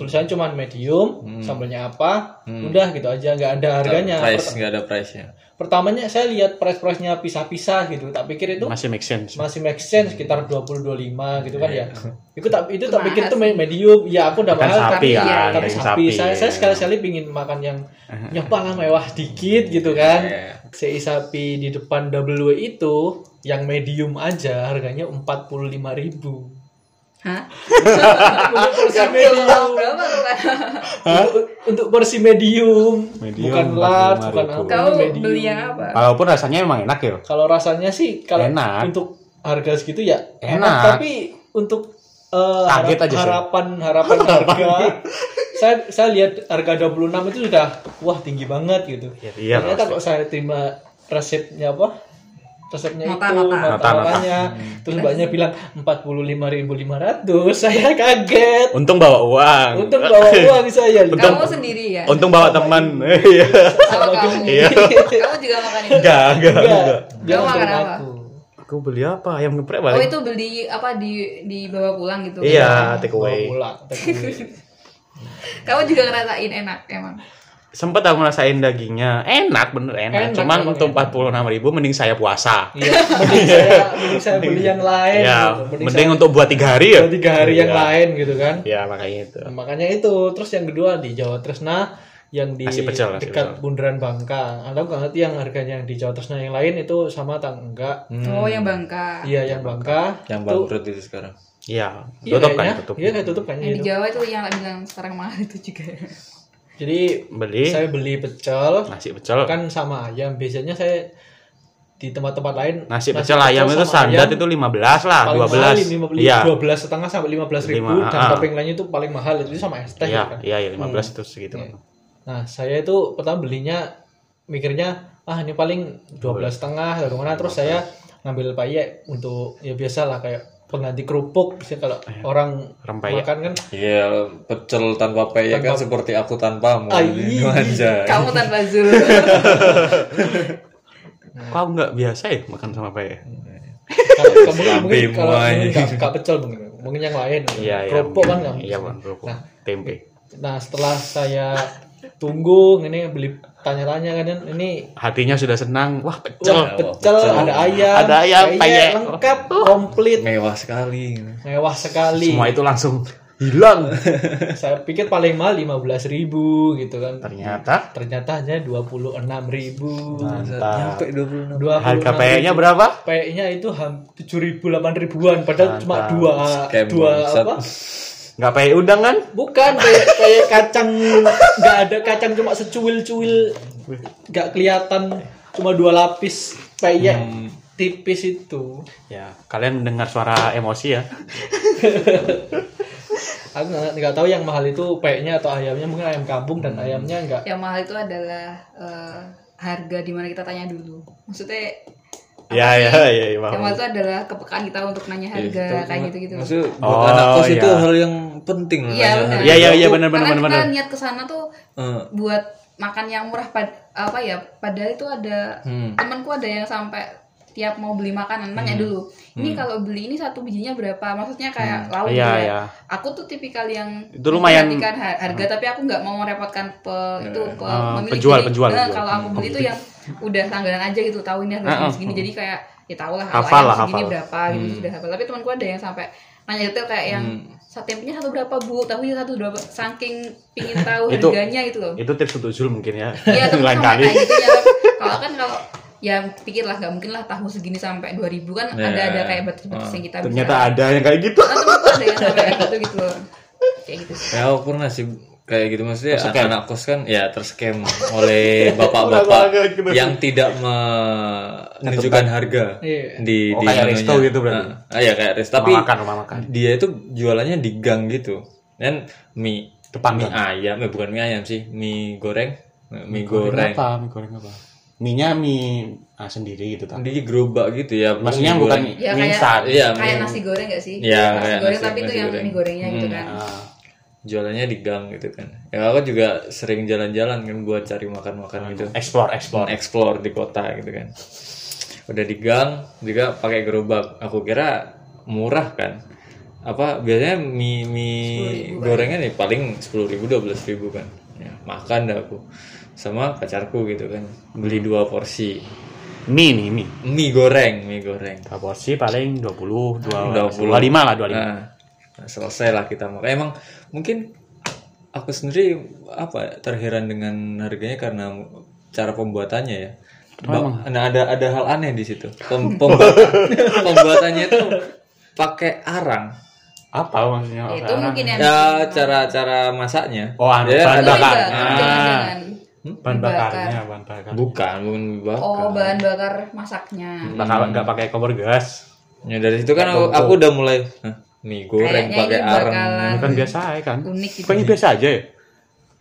tulisannya cuma medium
Hmm.
sambelnya apa udah gitu aja nggak ada harganya
Price
Pert-
nggak ada price-nya.
pertamanya saya lihat price-price-nya pisah-pisah gitu tak pikir itu
Masih make sense.
masih make sense sekitar 20 25 gitu kan ya. Itu tak itu tak pikir itu me- medium. Ya aku udah
Kan
mahal
sapi
tapi-
kan,
Iya, tapi
daging
sapi.
sapi.
Saya saya sekali-kali pingin makan yang nyoba lah mewah dikit gitu kan.
Iya.
Sei sapi di depan W itu yang medium aja harganya 45.000.
hah
Untuk porsi
Uang
medium.
berapa tuh kan
Untuk- Untuk porsi medium.
Medium
bukan large, bukan
45.000.
apa,
kau
medium.
beli yang apa
Walaupun rasanya emang enak ya.
Kalau rasanya sih kalau
Enak.
untuk harga segitu ya
Enak.
tapi untuk eh,
Kaget
harap-
aja sih.
harapan harapan harga saya saya lihat harga 26 itu sudah wah tinggi banget gitu.
iya,
Ternyata
pasti.
kok saya terima resepnya apa? Resepnya
Nota, nota.
itu
Nota, Hmm. nota.
nota-notanya. terus mbaknya bilang 45.500 saya kaget
Untung bawa uang.
untung bawa uang saya
Untung-
kamu sendiri ya
Untung bawa teman. Iya.
sama kamu kamu juga makan itu
Enggak, enggak.
enggak dia
Kamu
nonton
makan apa?
aku
aku beli apa ayam geprek
Oh
balik
itu beli apa di dibawa pulang gitu?
iya take
Bawa
away
pulang. tapi-
Kamu juga ngerasain enak emang.
sempet aku ngerasain dagingnya enak bener enak,
Enak,
cuman
enak,
untuk empat
enak.
puluh ribu mending saya puasa
Iya, mending saya, mending saya beli yang lain.
ya
gitu.
mending, untuk buat tiga hari ya
saya tiga hari yang
Iya.
lain gitu kan.
ya makanya itu
Nah, makanya itu. Terus yang kedua di Jawa Tresna yang di
Nasi pecel, nasi
dekat
pecel.
Bundaran Bangka. Anda nggak ngerti yang harganya yang di Jawa Tresna yang lain itu sama atau enggak?
Oh yang bangka.
Iya, yang Bangka.
Yang
itu-
bangkrut itu sekarang.
ya
Iya,
tutup kan
kayaknya.
tutup
Iya, kayak tutup kayaknya
Yang di
itu.
Jawa itu yang bilang sekarang mahal itu juga.
Jadi
beli
saya beli pecel
nasi pecel
kan sama ayam. Biasanya saya di tempat-tempat lain
nasi pecel ayam itu
sama
standar
ayam
itu 15 lah
paling
12
mahal
Ah, iya
15 12 setengah sampai 15 ribu
Lima,
dan
ah.
topping lainnya itu paling mahal itu sama es teh
iya
gitu kan.
iya iya, 15 itu segitu
Iya. Nah, saya itu pertama belinya mikirnya ah ini paling 12 setengah atau mana terus saya ngambil payek untuk ya biasalah kayak pengganti kerupuk bisa kalau
Iya.
orang
rempeyek
makan kan
Iya, pecel tanpa peyek kan seperti aku tanpamu.
Ah, iya,
Ai.
Anjay.
Kamu tanpa zul.
kok aku nggak biasa ya makan sama peyek
Hmm. kalau kamu mungkin
Sampai
kalau
muai.
mungkin nggak nggak pecel mungkin mungkin yang lain
iya iya
kerupuk kan nggak
iya bang kerupuk
Nah.
tempe
nah setelah saya tunggu ini beli tanya-tanya kan ini
hatinya sudah senang wah Oh.
wah,
pecel
pecel ada ayam
Ada ayam,
peyek,
peyek.
lengkap komplit
Mewah sekali.
mewah sekali
semua itu langsung hilang
saya pikir paling mahal 15.000 ribu gitu kan
ternyata
ternyata hanya 26.000 ribu
mantap harga
harga
peyeknya berapa
nya itu tujuh ribu delapan ribuan padahal cuma
Mantap.
dua
Scam
dua
bangsat.
apa
nggak peyek udang kan
bukan kayak kayak kacang nggak ada kacang cuma secuil-cuil nggak kelihatan cuma dua lapis peyek
Hmm.
tipis itu
ya kalian mendengar suara emosi ya
aku nggak nggak tahu yang mahal itu peyeknya atau ayamnya mungkin ayam kampung dan ayamnya nggak
yang mahal itu adalah eh, harga di mana kita tanya dulu. Maksudnya
ya ya ya, ya
yang
paham.
mahal itu adalah kepekaan kita untuk
Iya,
nanya harga kayak gitu-gitu.
Iya, Maksudnya buat
Oh,
anak kos itu
iya.
hal yang penting
Iya
nanya
benar.
harga.
Iya, iya, iya, benar, benar,
Karena
benar,
kita
benar.
niat kesana tuh
Eh,
buat makan yang murah pad- apa ya padahal itu ada
Hmm.
temanku ada yang sampai tiap mau beli
Hmm.
makanan nanya dulu ini kalau beli ini satu bijinya berapa maksudnya kayak lauk
Iya,
gitu ya.
iya.
aku tuh tipikal yang
Itu lumayan-
memperhatikan har- harga tapi aku nggak mau merepotkan pe- itu pe-
Eh,
pemilik.
penjual,
Jadi,
penjual, Oh, gitu.
eh,
penjual.
kalau aku beli itu yang udah langganan aja gitu tahu ini harganya segini jadi kayak ya tau lah kalau
Ah, Hafal
ayam
lah,
segini
hafal. Hmm.
berapa gitu sudah hafal tapi temanku ada yang sampai nanya detail kayak yang sate tempenya satu berapa bu tahunya satu berapa saking pingin tahu
Itu-
harganya gitu loh
itu tips untuk Zul mungkin ya
Iya, tapi
lain
sama
kali
kayak gitu ya. Kalau kan kalau ya pikirlah nggak mungkin lah tahu segini sampai 2000 kan
Iya,
ada ada kayak batas-batas yang
Oh,
kita bisa.
ternyata ada yang kayak gitu
Nah, temen tuh ada yang sampai kayak gitu gitu loh. Kayak gitu.
Ya aku pernah sih kayak gitu maksudnya anak, anak kos kan ya terskem oleh bapak-bapak
gitu.
yang tidak menunjukkan harga
Iya.
di
Oh,
di
kayak
menunya.
resto gitu berarti.
Ah, iya, kayak resto tapi
rumah makan rumah makan
dia itu jualannya di gang gitu. Dan mie
Depan
mie ayam, eh, bukan mie ayam sih, mie goreng, mie, goreng.
apa mie goreng apa mie nya mie ah, sendiri gitu kan
Di gerobak gitu ya.
maksudnya
mie
bukan
goreng.
Ya,
mie
kayak-
instan
Iya,
Kayak
mie-
nasi goreng gak sih?
Iya,
nasi
kayak
goreng
nasi-
tapi itu
nasi
yang
goreng. Hmm.
mie gorengnya gitu kan.
Ah,
jualannya di gang gitu kan ya aku juga sering jalan-jalan kan buat cari makan-makan gitu
explore explore
explore di kota gitu kan udah di gang juga pakai gerobak aku kira murah kan apa biasanya mie mie gorengan nih paling sepuluh ribu dua ribu kan ya, makan dah aku sama pacarku gitu kan beli dua porsi
mie nih mie
mie goreng mie goreng
Dua porsi paling 20, 20,
20.
25 lah 25.
Nah, nah, selesai lah kita makan. Emang mungkin aku sendiri apa terheran dengan harganya karena cara pembuatannya ya. Ba- nah ada ada hal aneh di situ. Pem- pembuatan- pembuatannya itu pakai arang.
Apa maksudnya?
Ya, Itu mungkin yang
Ya cara-cara masaknya.
Oh, anu,
Ya,
bahan
Itu
bakar.
juga, gitu kan.
Ah.
jangan-jangan.
Bahan bakarnya, bahan bakar.
Nah, Bukan, bukan Hmm? bakar. Hmm.
Oh, bahan bakar masaknya.
Bakar enggak pakai kompor gas.
Ya, dari situ kan aku, aku udah mulai "Hah, mie goreng
Kayaknya
pakai
ini
arang.
bakalan
Bukan biasa aja kan?
Iya. Unik gitu.
Kayaknya biasa aja ya.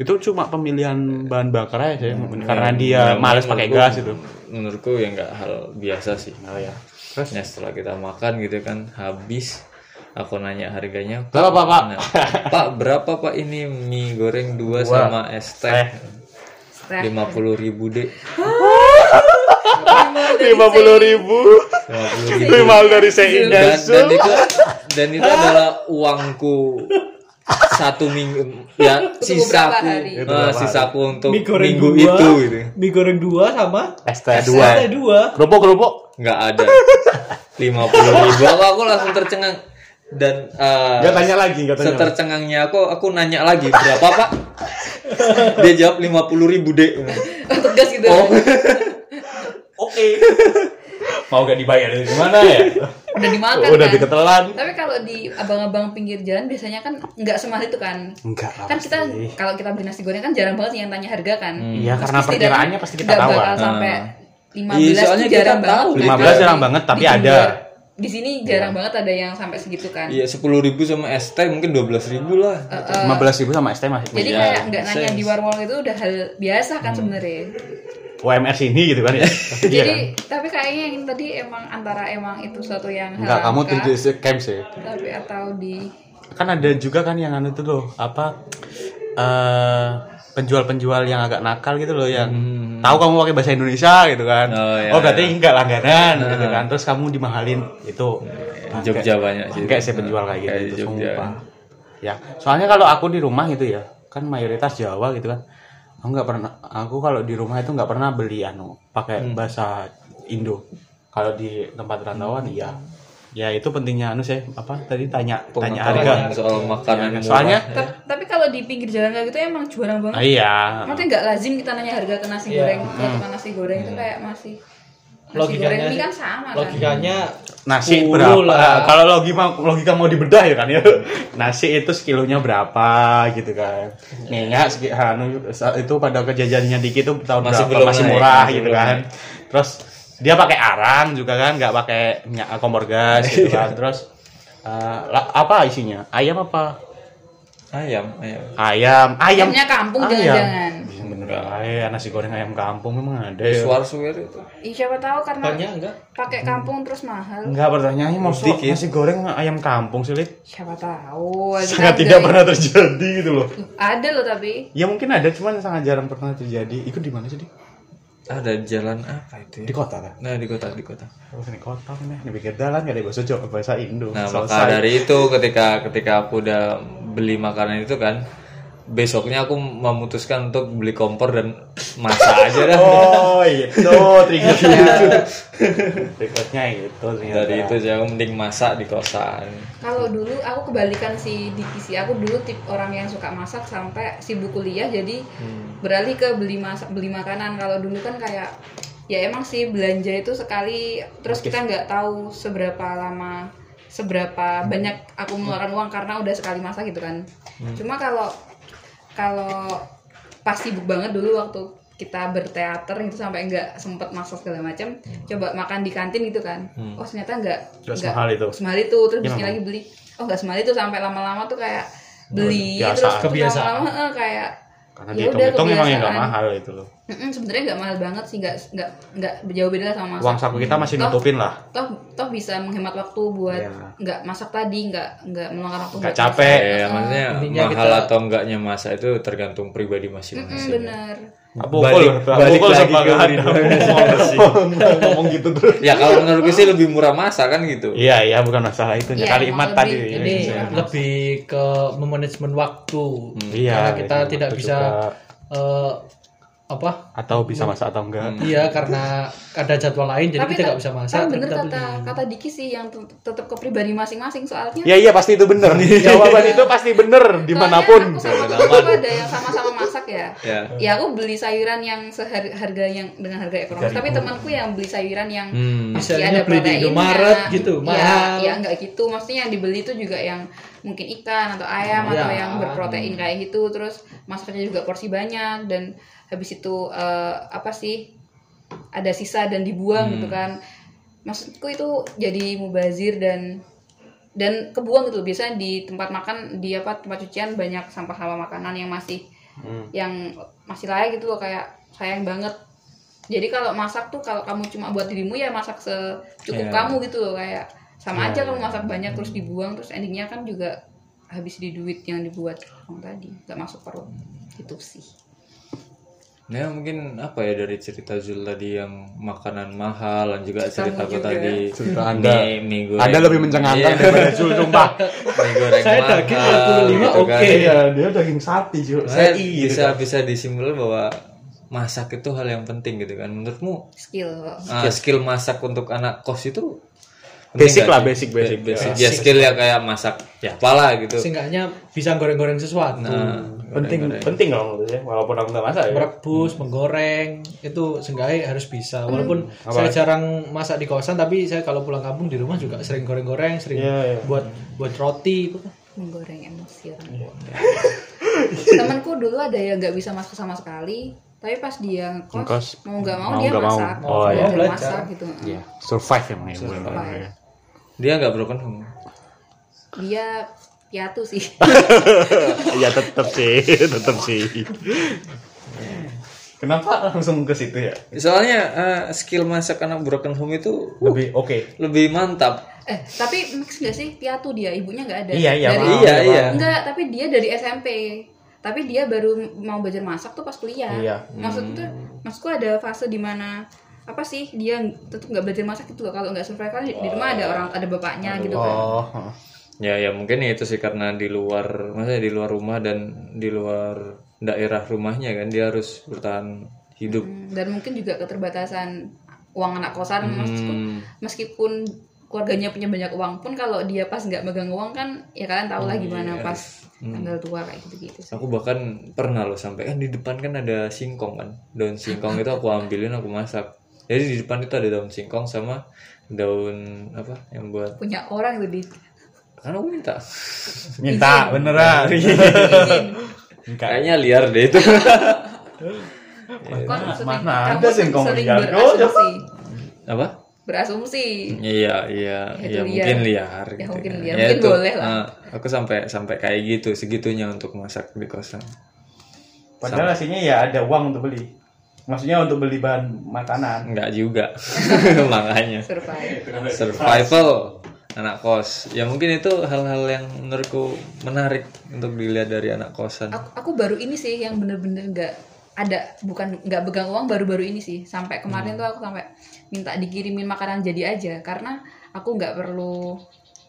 Itu cuma pemilihan bahan bakar aja sih, karena dia males pakai
Menurutku-
gas itu.
Iya, Menurutku ya nggak hal biasa sih.
Oh ya. Terus
Ya setelah kita makan gitu kan habis aku nanya harganya
Berapa, Pak? Pak?
Nah, Pak berapa Pak ini mie goreng dua sama
Eh.
es teh
Teh.
Stress.
lima puluh ribu dek
lima puluh ribu lima dari seindah
dan, dan itu dan itu adalah uangku satu minggu ya
Untuk
sisaku
beberapa hari.
eh,
Beberapa hari.
sisaku untuk
mie goreng
minggu
dua,
itu gitu
mie goreng dua sama
ST
sate
dua
dua
kerupuk kerupuk
nggak ada lima puluh ribu aku, aku langsung tercengang dan eh,
nggak tanya lagi nggak tanya lagi.
setercengangnya aku aku nanya lagi berapa pak dia jawab lima puluh ribu dek
Tegas gitu.
oh
oke mau gak dibayar dari gimana ya
Udah dimakan
Oh, udah
kan.
diketelan
Tapi kalau di abang-abang pinggir jalan biasanya kan nggak semahal itu kan.
enggak lah
Kan kita
pasti.
kalau kita beli nasi goreng kan jarang banget sih yang tanya harga kan.
Hmm.
Iya karena
Pasti tidaknya
perkiraannya pasti kita
nggak
tahu.
bakal
kan.
sampai
Ah.
15
Iya,
tuh
soalnya kita
jarang
tahu.
banget.
15
Kan.
jarang banget, tapi
Di
ada. Iya.
Jember, Di sini jarang banget ada yang sampai segitu kan.
iya sepuluh ribu sama ST mungkin dua belas ribu lah
Lima belas ribu sama ST masih.
Jadi
Iya,
kayak nggak nanya
sense.
di warung itu udah hal biasa
Hmm.
kan sebenarnya.
UMR sini gitu kan ya. Iya
Jadi
kan.
tapi kayaknya yang tadi emang antara emang itu suatu yang
Enggak
haram
kamu
kah,
tidur di camp sih.
tapi atau di
Kan ada juga kan yang anu itu loh apa eh penjual-penjual yang agak nakal gitu loh yang tahu kamu pakai bahasa Indonesia gitu kan.
Hmm. Oh, iya,
berarti
iya.
enggak langganan gitu kan. Terus kamu dimahalin itu. Bangke.
Jogja banyak sih.
Bangke sih penjual kayak gitu.
Kayak
itu,
Jogja.
sumpah. Ya, soalnya kalau aku di rumah gitu ya, kan mayoritas Jawa gitu kan. Aku nggak pernah, aku kalau di rumah itu nggak pernah beli anu pakai
Hmm.
bahasa Indo. Kalau di tempat rantauan, iya. Ya itu pentingnya anu sih apa tadi tanya tanya harga.
Pengetahuan soal makanan
Ya,
murah.
soalnya
Ta- tapi kalau di pinggir jalan kayak gitu emang jarang banget.
ah, Hmm. iya.
Maksudnya nggak lazim kita nanya harga ke nasi goreng, ke tukang nasi goreng itu kayak masih nasi goreng
logikanya
ini kan sama kan.
logikanya Iya,
Nasi
10
berapa? Ah,
lah.
Kalau logika logika mau dibedah ya kan ya. Nasi itu sekilonya berapa gitu kan. Minyak segi- anu itu pada kejajannya dikit tuh tahun berapa
Masih belum
masih
naik,
murah
masih
gitu
belum
kan. Terus dia pakai arang juga kan, nggak pakai minyak kompor gas gitu
Iya.
kan. Terus eh, la- apa isinya? Ayam apa?
ayam ayam
Ayam, ayam.
Ayamnya kampung kan?
Ayam.
jangan-jangan.
Iya, Bener aja, nasi goreng ayam kampung memang ada ya.
suar suar itu
Ih, siapa tahu karena
banyak enggak
pakai kampung terus mahal.
Enggak pertanyaannya mau
Sedikit.
nasi goreng ayam kampung sih, Lid?
Siapa tahu. ada ya?
Sangat
harga
tidak
yang-
pernah terjadi gitu loh.
Loh, Ada loh tapi.
Ya mungkin ada, cuman sangat jarang pernah terjadi. Itu di mana sih? Di?
ada jalan apa itu
Di
ya?
kota kan?
nah di kota di kota
Kalau di kota kan ya, di pinggir jalan gak ada bahasa Jawa, bahasa Indo.
Nah, maka
Selesai.
dari itu ketika ketika aku udah beli makanan itu kan besoknya aku memutuskan untuk beli kompor dan masak aja dah.
Oh itu triggernya. triggernya itu
Iya,
ya. ternyata.
Dari itu sih aku mending masak di kosan.
Kalau dulu aku kebalikan si Diki sih. Aku dulu tip orang yang suka masak sampai sibuk kuliah jadi beralih ke beli masak beli makanan. Kalau dulu kan kayak ya emang sih belanja itu sekali terus kita nggak tahu seberapa lama seberapa banyak aku mengeluarkan uang karena udah sekali masak gitu kan. Cuma kalau kalau pas sibuk banget dulu waktu kita berteater gitu sampai nggak sempet masak segala macam coba makan di kantin gitu kan oh ternyata nggak
Nggak
nggak-
semahal itu.
semahal itu terus
Iya,
bikin
Mama.
lagi beli oh nggak semahal itu sampai lama-lama tuh kayak beli
Biasa,
terus
kebiasaan.
lama-lama eh, kayak
Karena
ya
dihitung-hitung
udah,
emang ya gak
kebiasaan.
mahal itu loh.
Mm-mm, sebenarnya nggak mahal banget sih nggak nggak nggak jauh beda lah sama masak
Uang saku kita masih
Toh,
nutupin lah.
toh toh bisa menghemat waktu buat
Iya.
nggak masak tadi nggak nggak meluangkan waktu
Gak
buat masak.
capek.
Eh, maksudnya
Intinya
mahal
kita-
atau enggaknya masak itu tergantung pribadi
Mm-mm,
masing-masing.
bener
Bukul,
Balik- balik
bukul
lagi
sama
ke
gak ada. Ngomong- Ngomong gitu terus.
ya kalau menurutku sih lebih murah masak kan gitu.
Iya, iya bukan masalah itu.
Iya,
Kalimat
emang
tadi.
lebih gede.
Iya.
lebih ke memanajemen waktu
Iya.
karena kita
lebih
tidak
waktu
bisa
juga.
eh, apa
atau bisa masak atau enggak.
Hmm,
Iya karena ada jadwal lain jadi kita
ta-
nggak bisa masak. Hmm.
tapi
terus
bener
kita
kata kata Diki sih yang tet- tetap ke pribadi masing-masing soalnya
Ya iya pasti itu bener. Jawaban itu pasti bener dimanapun.
Soalnya aku sama temen aku ada yang sama-sama masak ya.
Ya.
Ya aku beli sayuran yang seharga harga yang dengan harga ekonomis, tapi temanku yang beli sayuran yang
Hmm.
ya
Misalnya beli di
proteinnya.
Indomaret gitu,
Ya,
mahal.
ya nggak gitu. Maksudnya yang dibeli itu juga yang mungkin ikan atau ayam
Ya.
atau yang berprotein kayak gitu. Terus masaknya juga porsi banyak dan habis itu eh, apa sih? Ada sisa dan dibuang gitu kan. Maksudku itu jadi mubazir dan dan kebuang gitu biasanya di tempat makan di apa tempat cucian banyak sampah-sampah makanan yang masih yang masih layak gitu loh kayak sayang banget jadi kalau masak tuh kalau kamu cuma buat dirimu ya masak secukup
Iya.
kamu gitu loh kayak
Iya,
sama aja kamu masak banyak terus dibuang terus endingnya kan juga habis di duit yang dibuat orang tadi nggak masuk perut itu sih
Ya mungkin apa ya dari cerita Zul tadi yang makanan mahal dan juga
Kamu
ceritaku
juga.
tadi
Cerita Anda.
mie, mie goreng. Iya,
Anda lebih
Iya.
mencengangkan daripada Zul sumpah.
mie goreng
Saya
mahal,
daging 45,
gitu kan.
oke.
Iya, dia daging sapi, Zul.
iya,
Saya
Sei, gitu.
bisa bisa disimpulkan bahwa masak itu hal yang penting gitu kan. Menurutmu
skill
ah, skill masak untuk anak kos itu penting
Basic
nggak?
lah, basic, basic.
Basic. Ya skill ya kayak masak kepala gitu.
Seenggaknya bisa goreng-goreng sesuatu.
Nah,
Hmm.
Penting, penting dong menurut saya. Walaupun aku nggak masak ya.
merebus, menggoreng, itu seenggaknya harus bisa. Walaupun saya jarang masak di kosan, tapi saya kalau pulang kampung di rumah juga sering goreng-goreng, sering
Iya, iya.
buat buat roti.
menggoreng emosi orang tua. Temanku dulu ada yang nggak bisa masak sama sekali, tapi pas dia ngekos,
Ngekos.
mau nggak mau,
Mau
dia
nggak mau.
masak,
Oh, iya.
dia
Belajar.
masak gitu.
Iya. Survive emang ya. bukan
Survive.
apa-apa ya.
dia nggak broken home.
Dia piatu sih.
Iya tetap sih, tetap sih.
Kenapa langsung ke situ ya?
Soalnya eh, skill masak anak broken home itu uh,
Lebih oke.
lebih mantap.
eh tapi mix nggak sih piatu dia, ibunya nggak ada.
Iya, iya,
Dari-
paham,
iya, iya.
Enggak, tapi dia dari SMP. Tapi dia baru mau belajar masak tuh pas kuliah.
Iya.
Maksud tuh, maksudku ada fase di mana apa sih dia tetap nggak belajar masak gitu loh kalau nggak survive kan di di rumah ada orang ada bapaknya gitu kan.
Oh,
Ya ya mungkin ya itu sih karena di luar maksudnya di luar rumah dan di luar daerah rumahnya kan dia harus bertahan hidup.
Hmm, dan mungkin juga keterbatasan uang anak kosan Kan maksudku,
Hmm.
meskipun keluarganya punya banyak uang pun kalau dia pas nggak megang uang kan ya kalian tahu
Oh,
lah gimana
Iya.
iya.
pas
Hmm.
tanggal tua kayak gitu gitu
Aku bahkan pernah loh sampai kan di depan kan ada singkong kan. Daun singkong itu aku ambilin aku masak. Jadi di depan itu ada daun singkong sama daun apa yang buat
punya orang itu di
kan aku minta. Iya,
Minta beneran.
Kayaknya liar deh itu.
Kon sering-
mana
kamu
ada singkong
sering
liar? Oh,
berasumsi
apa?
berasumsi
Iya, iya, iya
itu liar.
mungkin liar.
Ya,
gitu
mungkin
kan.
liar. Mungkin boleh lah.
eh, aku sampai sampai kayak gitu segitunya untuk masak di kosan.
Padahal aslinya ya ada uang untuk beli. Maksudnya untuk beli bahan makanan.
Enggak juga. Makanya
survive
survival anak kos. Ya mungkin itu hal-hal yang menurutku menarik untuk dilihat dari anak kosan.
aku, aku baru ini sih yang bener-bener nggak ada bukan nggak pegang uang baru-baru ini sih sampai kemarin tuh aku sampai minta dikirimin makanan jadi aja karena aku nggak perlu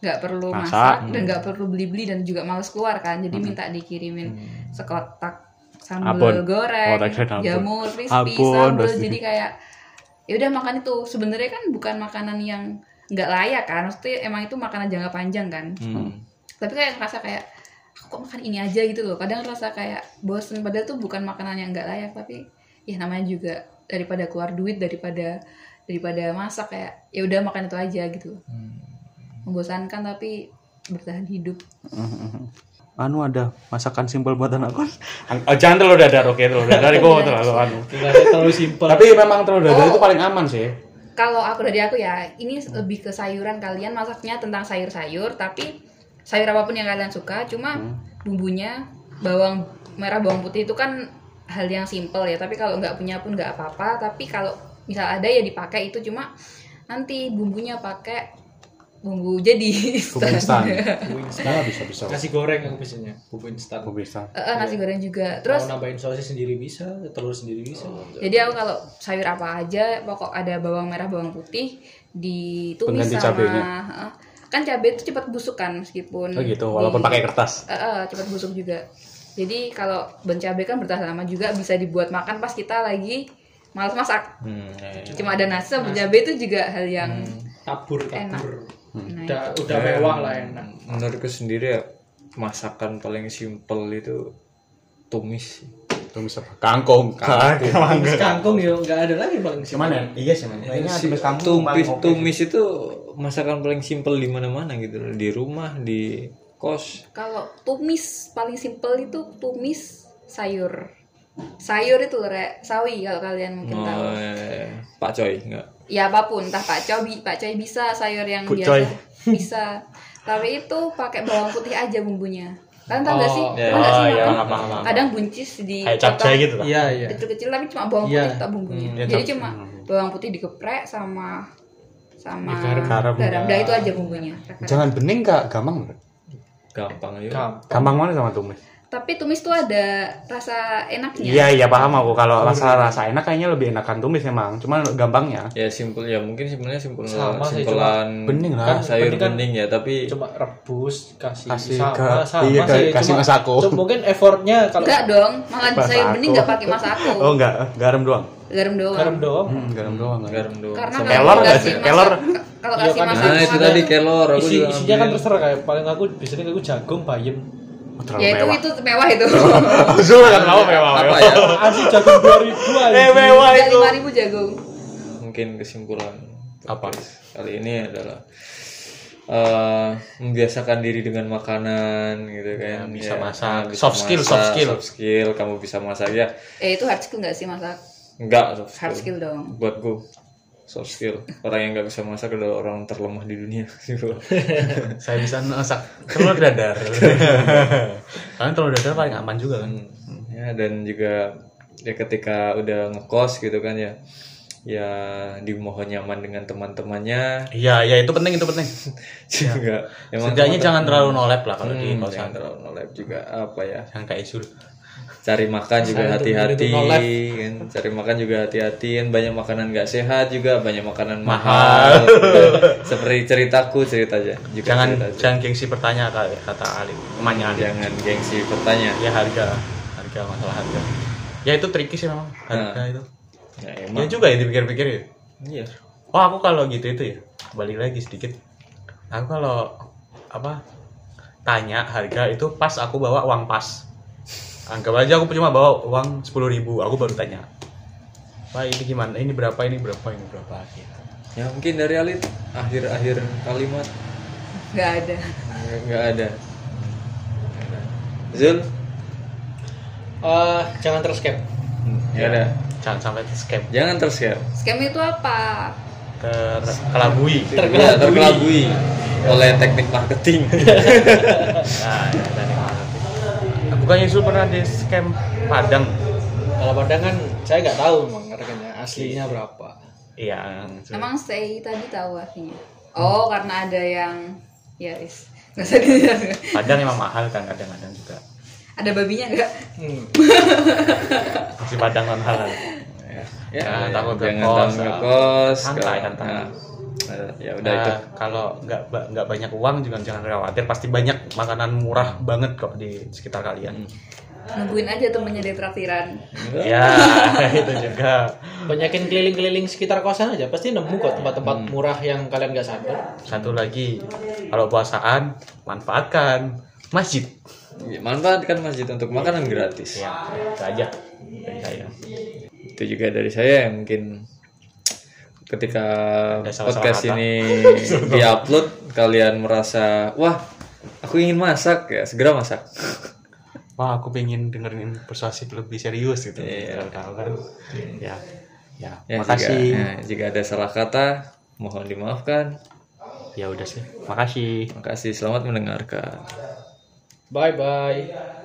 nggak perlu
Masak.
masak, dan nggak perlu beli-beli dan juga males keluar kan jadi minta dikirimin sekotak
Abon.
sambal goreng
Kotak dan abon.
jamur crispy
Abon,
sambal
pasti.
jadi kayak ya udah makan itu sebenarnya kan bukan makanan yang nggak layak kan maksudnya emang itu makanan jangka panjang kan
Hmm.
tapi kayak ngerasa kayak aku kok makan ini aja gitu loh kadang ngerasa kayak bosen padahal tuh bukan makanan yang nggak layak tapi ya namanya juga daripada keluar duit daripada daripada masak kayak ya udah makan itu aja gitu membosankan tapi bertahan hidup
anu ada masakan simpel buat anak kos. An- oh, jangan terlalu dadar, oke terlalu dadar itu terlalu anu. Oh.
Tidak terlalu simpel.
Tapi memang terlalu dadar itu paling aman sih.
kalau aku dari aku ya ini lebih ke sayuran kalian masaknya tentang sayur-sayur tapi sayur apapun yang kalian suka cuma
Hmm.
bumbunya bawang merah bawang putih itu kan hal yang simple ya tapi kalau nggak punya pun nggak apa-apa tapi kalau misal ada ya dipakai itu cuma nanti bumbunya pakai bumbu jadi
Bumbu instan.
Bumbu instan.
Nah, bisa bisa.
Nasi goreng aku biasanya, bumbu instan.
Bumbu instan.
Eh, eh, nasi goreng juga terus Oh, iya.
Terus nambahin sosis sendiri bisa, telur sendiri bisa.
Jadi aku kalau sayur apa aja, pokok ada bawang merah, bawang putih, ditumis
Pengganti
sama
cabenya.
Heeh. kan cabai itu cepat busuk kan meskipun
Oh gitu, walaupun
di-
pakai kertas.
Eh, eh, cepat busuk juga. Jadi kalau ben cabai kan bertahan lama juga bisa dibuat makan pas kita lagi malas masak.
Hmm,
iya,
ya, ya.
Cuma ada nasi sama cabai itu juga hal yang
Tabur,
Enak.
tabur.
Hmm.
Nah,
Udah, udah mewah lah enak.
Menurutku sendiri ya masakan paling simpel itu tumis.
Tumis apa? Kangkung.
Iya.
Kangkung.
Terus kangkung ya nggak ada lagi paling simpel.
Cuman ya, iya sih, man. kayaknya
Si-
tumis kampung
tumis,
paling oke.
tumis itu masakan paling simpel di mana-mana gitu loh. di rumah di kos
kalau tumis paling simpel itu tumis sayur. Sayur itu rek sawi kalau kalian mungkin
Oh,
tahu.
iya.
Eh, Pak Coy enggak
ya apapun entah Pak Coy Pak Coy bisa sayur yang
Pak
biasa
Coy.
bisa tapi itu pakai bawang putih aja bumbunya kalian tau gak sih
Oh,
Tau
iya.
nggak sih
Oh, iya,
makan?
paham, paham, paham.
kadang buncis di
Kayak capcay gitu lah.
Iya, iya.
kecil-kecil tapi cuma bawang
Iya.
putih tak bumbunya
Hmm, iya,
jadi
capcay.
cuma bawang putih digeprek sama sama
Digarem.
Garam.
garam dah itu aja bumbunya
Jangan bening kak, gampang.
gampang aja
Gampang.
Gampang mana sama tumis?
tapi tumis tuh ada rasa enaknya.
Iya iya paham aku kalau rasa rasa enak kayaknya lebih enakan tumis emang. Cuman gampangnya
ya simpel ya mungkin simpelnya simpel
Sama sih,
simpelan
bening lah.
Kan
sayur
bening kan-
bening ya tapi
coba rebus kasih,
Kasih
sama
ke-
sama
iya,
sih
kasih
cuma-
masako.
cuma mungkin effortnya kalau
Enggak dong, malah
Masak
sayur bening
aku.
nggak pakai masak aku.
Oh enggak, garam doang.
Garam doang.
garam doang
Hmm, garam doang.
garam doang
Karena
Sama-
Kelor kalau- nggak
kasih
sih?
masak-
Kelor?
ka- Kalau
Iya,
kasih
kan.
masak
nah itu tadi kelor aku
isi
juga
isinya kan
ngambil.
terserah kayak paling aku biasanya aku jagung bayam
Oh, terlalu
Ya itu
mewah.
itu mewah itu.
Zul kan mau mewah.
apa
mewah.
ya
anjir jagung 2000 anjir
Eh mewah
Enggak
itu.
lima ribu jagung.
mungkin kesimpulan
Apa?
podcast kali ini adalah eh, membiasakan diri dengan makanan gitu kan
Ya, bisa
Ya,
masak.
bisa
Soft skill, soft skill.
soft skill kamu bisa masak ya
Eh itu hard skill nggak sih masak?
enggak soft skill,
Hard skill dong.
buat gue soft skill orang yang nggak bisa masak adalah orang terlemah di dunia
Saya bisa masak telur dadar. Karena telur dadar paling aman juga kan.
ya dan juga ya ketika udah ngekos gitu kan ya ya dimohon nyaman dengan teman-temannya
Iya, iya itu penting itu penting.
juga emang
Setidaknya jangan terlalu nolep lah kalau
Hmm,
di
jangan
kosan.
terlalu nolep juga apa ya
Jangan kayak Zul.
cari makan juga
Saya
hati-hati
tuh nolep.
kan cari makan juga hati-hati kan banyak makanan nggak sehat juga banyak makanan mahal juga. seperti ceritaku cerita aja juga
Jangan
cerita aja.
jangan gengsi bertanya kali kata Ali. Temannya Ali.
jangan gengsi bertanya
Ya harga, harga masalah harga. Ya itu tricky sih memang harga
Nah.
itu.
ya
Ya
emang
juga ya dipikir-pikir ya.
iya
Oh aku kalau gitu itu ya balik lagi sedikit. Aku kalau apa tanya harga itu pas aku bawa uang pas. Anggap aja aku cuma bawa uang sepuluh ribu, aku baru tanya. Pak ini gimana? Ini berapa? Ini berapa? Ini berapa? Gitu.
ya mungkin dari Alit akhir-akhir kalimat
Nggak ada.
nggak- nggak ada Zul
Eh, jangan terus cap
nggak
Ya.
ada
Jangan sampai scam
jangan tersiap
Scam itu apa?
terkelabui.
Terkelabui.
Iya, terkelabui oleh teknik marketing
Nah, ya, dan yang mana? Bukannya Zul pernah di scam Padang?
kalau padang kan saya nggak tahu memang harganya aslinya berapa
Iya. Zul.
Emang stay tadi tahu artinya? Oh karena ada yang ya is nggak usah dijelaskan.
Padang emang mahal kan kadang-kadang juga.
Ada babinya nggak?
hmm.
Masih Padang non halal.
ya,
Jangan
ya,
takut
jangan
ngekos. ah.
takut ngekos
Santai,
kalau-
santai.
nah, eh, ya udah
Nah,
itu
kalau nggak ba- nggak banyak uang juga jangan khawatir pasti banyak makanan murah banget kok di sekitar kalian.
Nungguin aja temennya di traktiran.
Ya itu juga
banyakin keliling-keliling sekitar kosan aja pasti nemu kok tempat-tempat murah yang kalian nggak sadar
satu lagi kalau puasaan manfaatkan masjid.
Ya, manfaatkan masjid untuk makanan gratis
Ya itu aja dari saya.
itu juga dari saya yang mungkin ketika
Ada salah-salah
podcast
kata.
ini diupload kalian merasa wah aku ingin masak ya segera masak
Wah aku pengen dengerin persuasif lebih serius gitu.
Iya.
Kalau kan ya ya,
ya,
makasih.
Jika, ya, jika ada salah kata mohon dimaafkan
Ya udah sih makasih.
makasih selamat mendengarkan
bye bye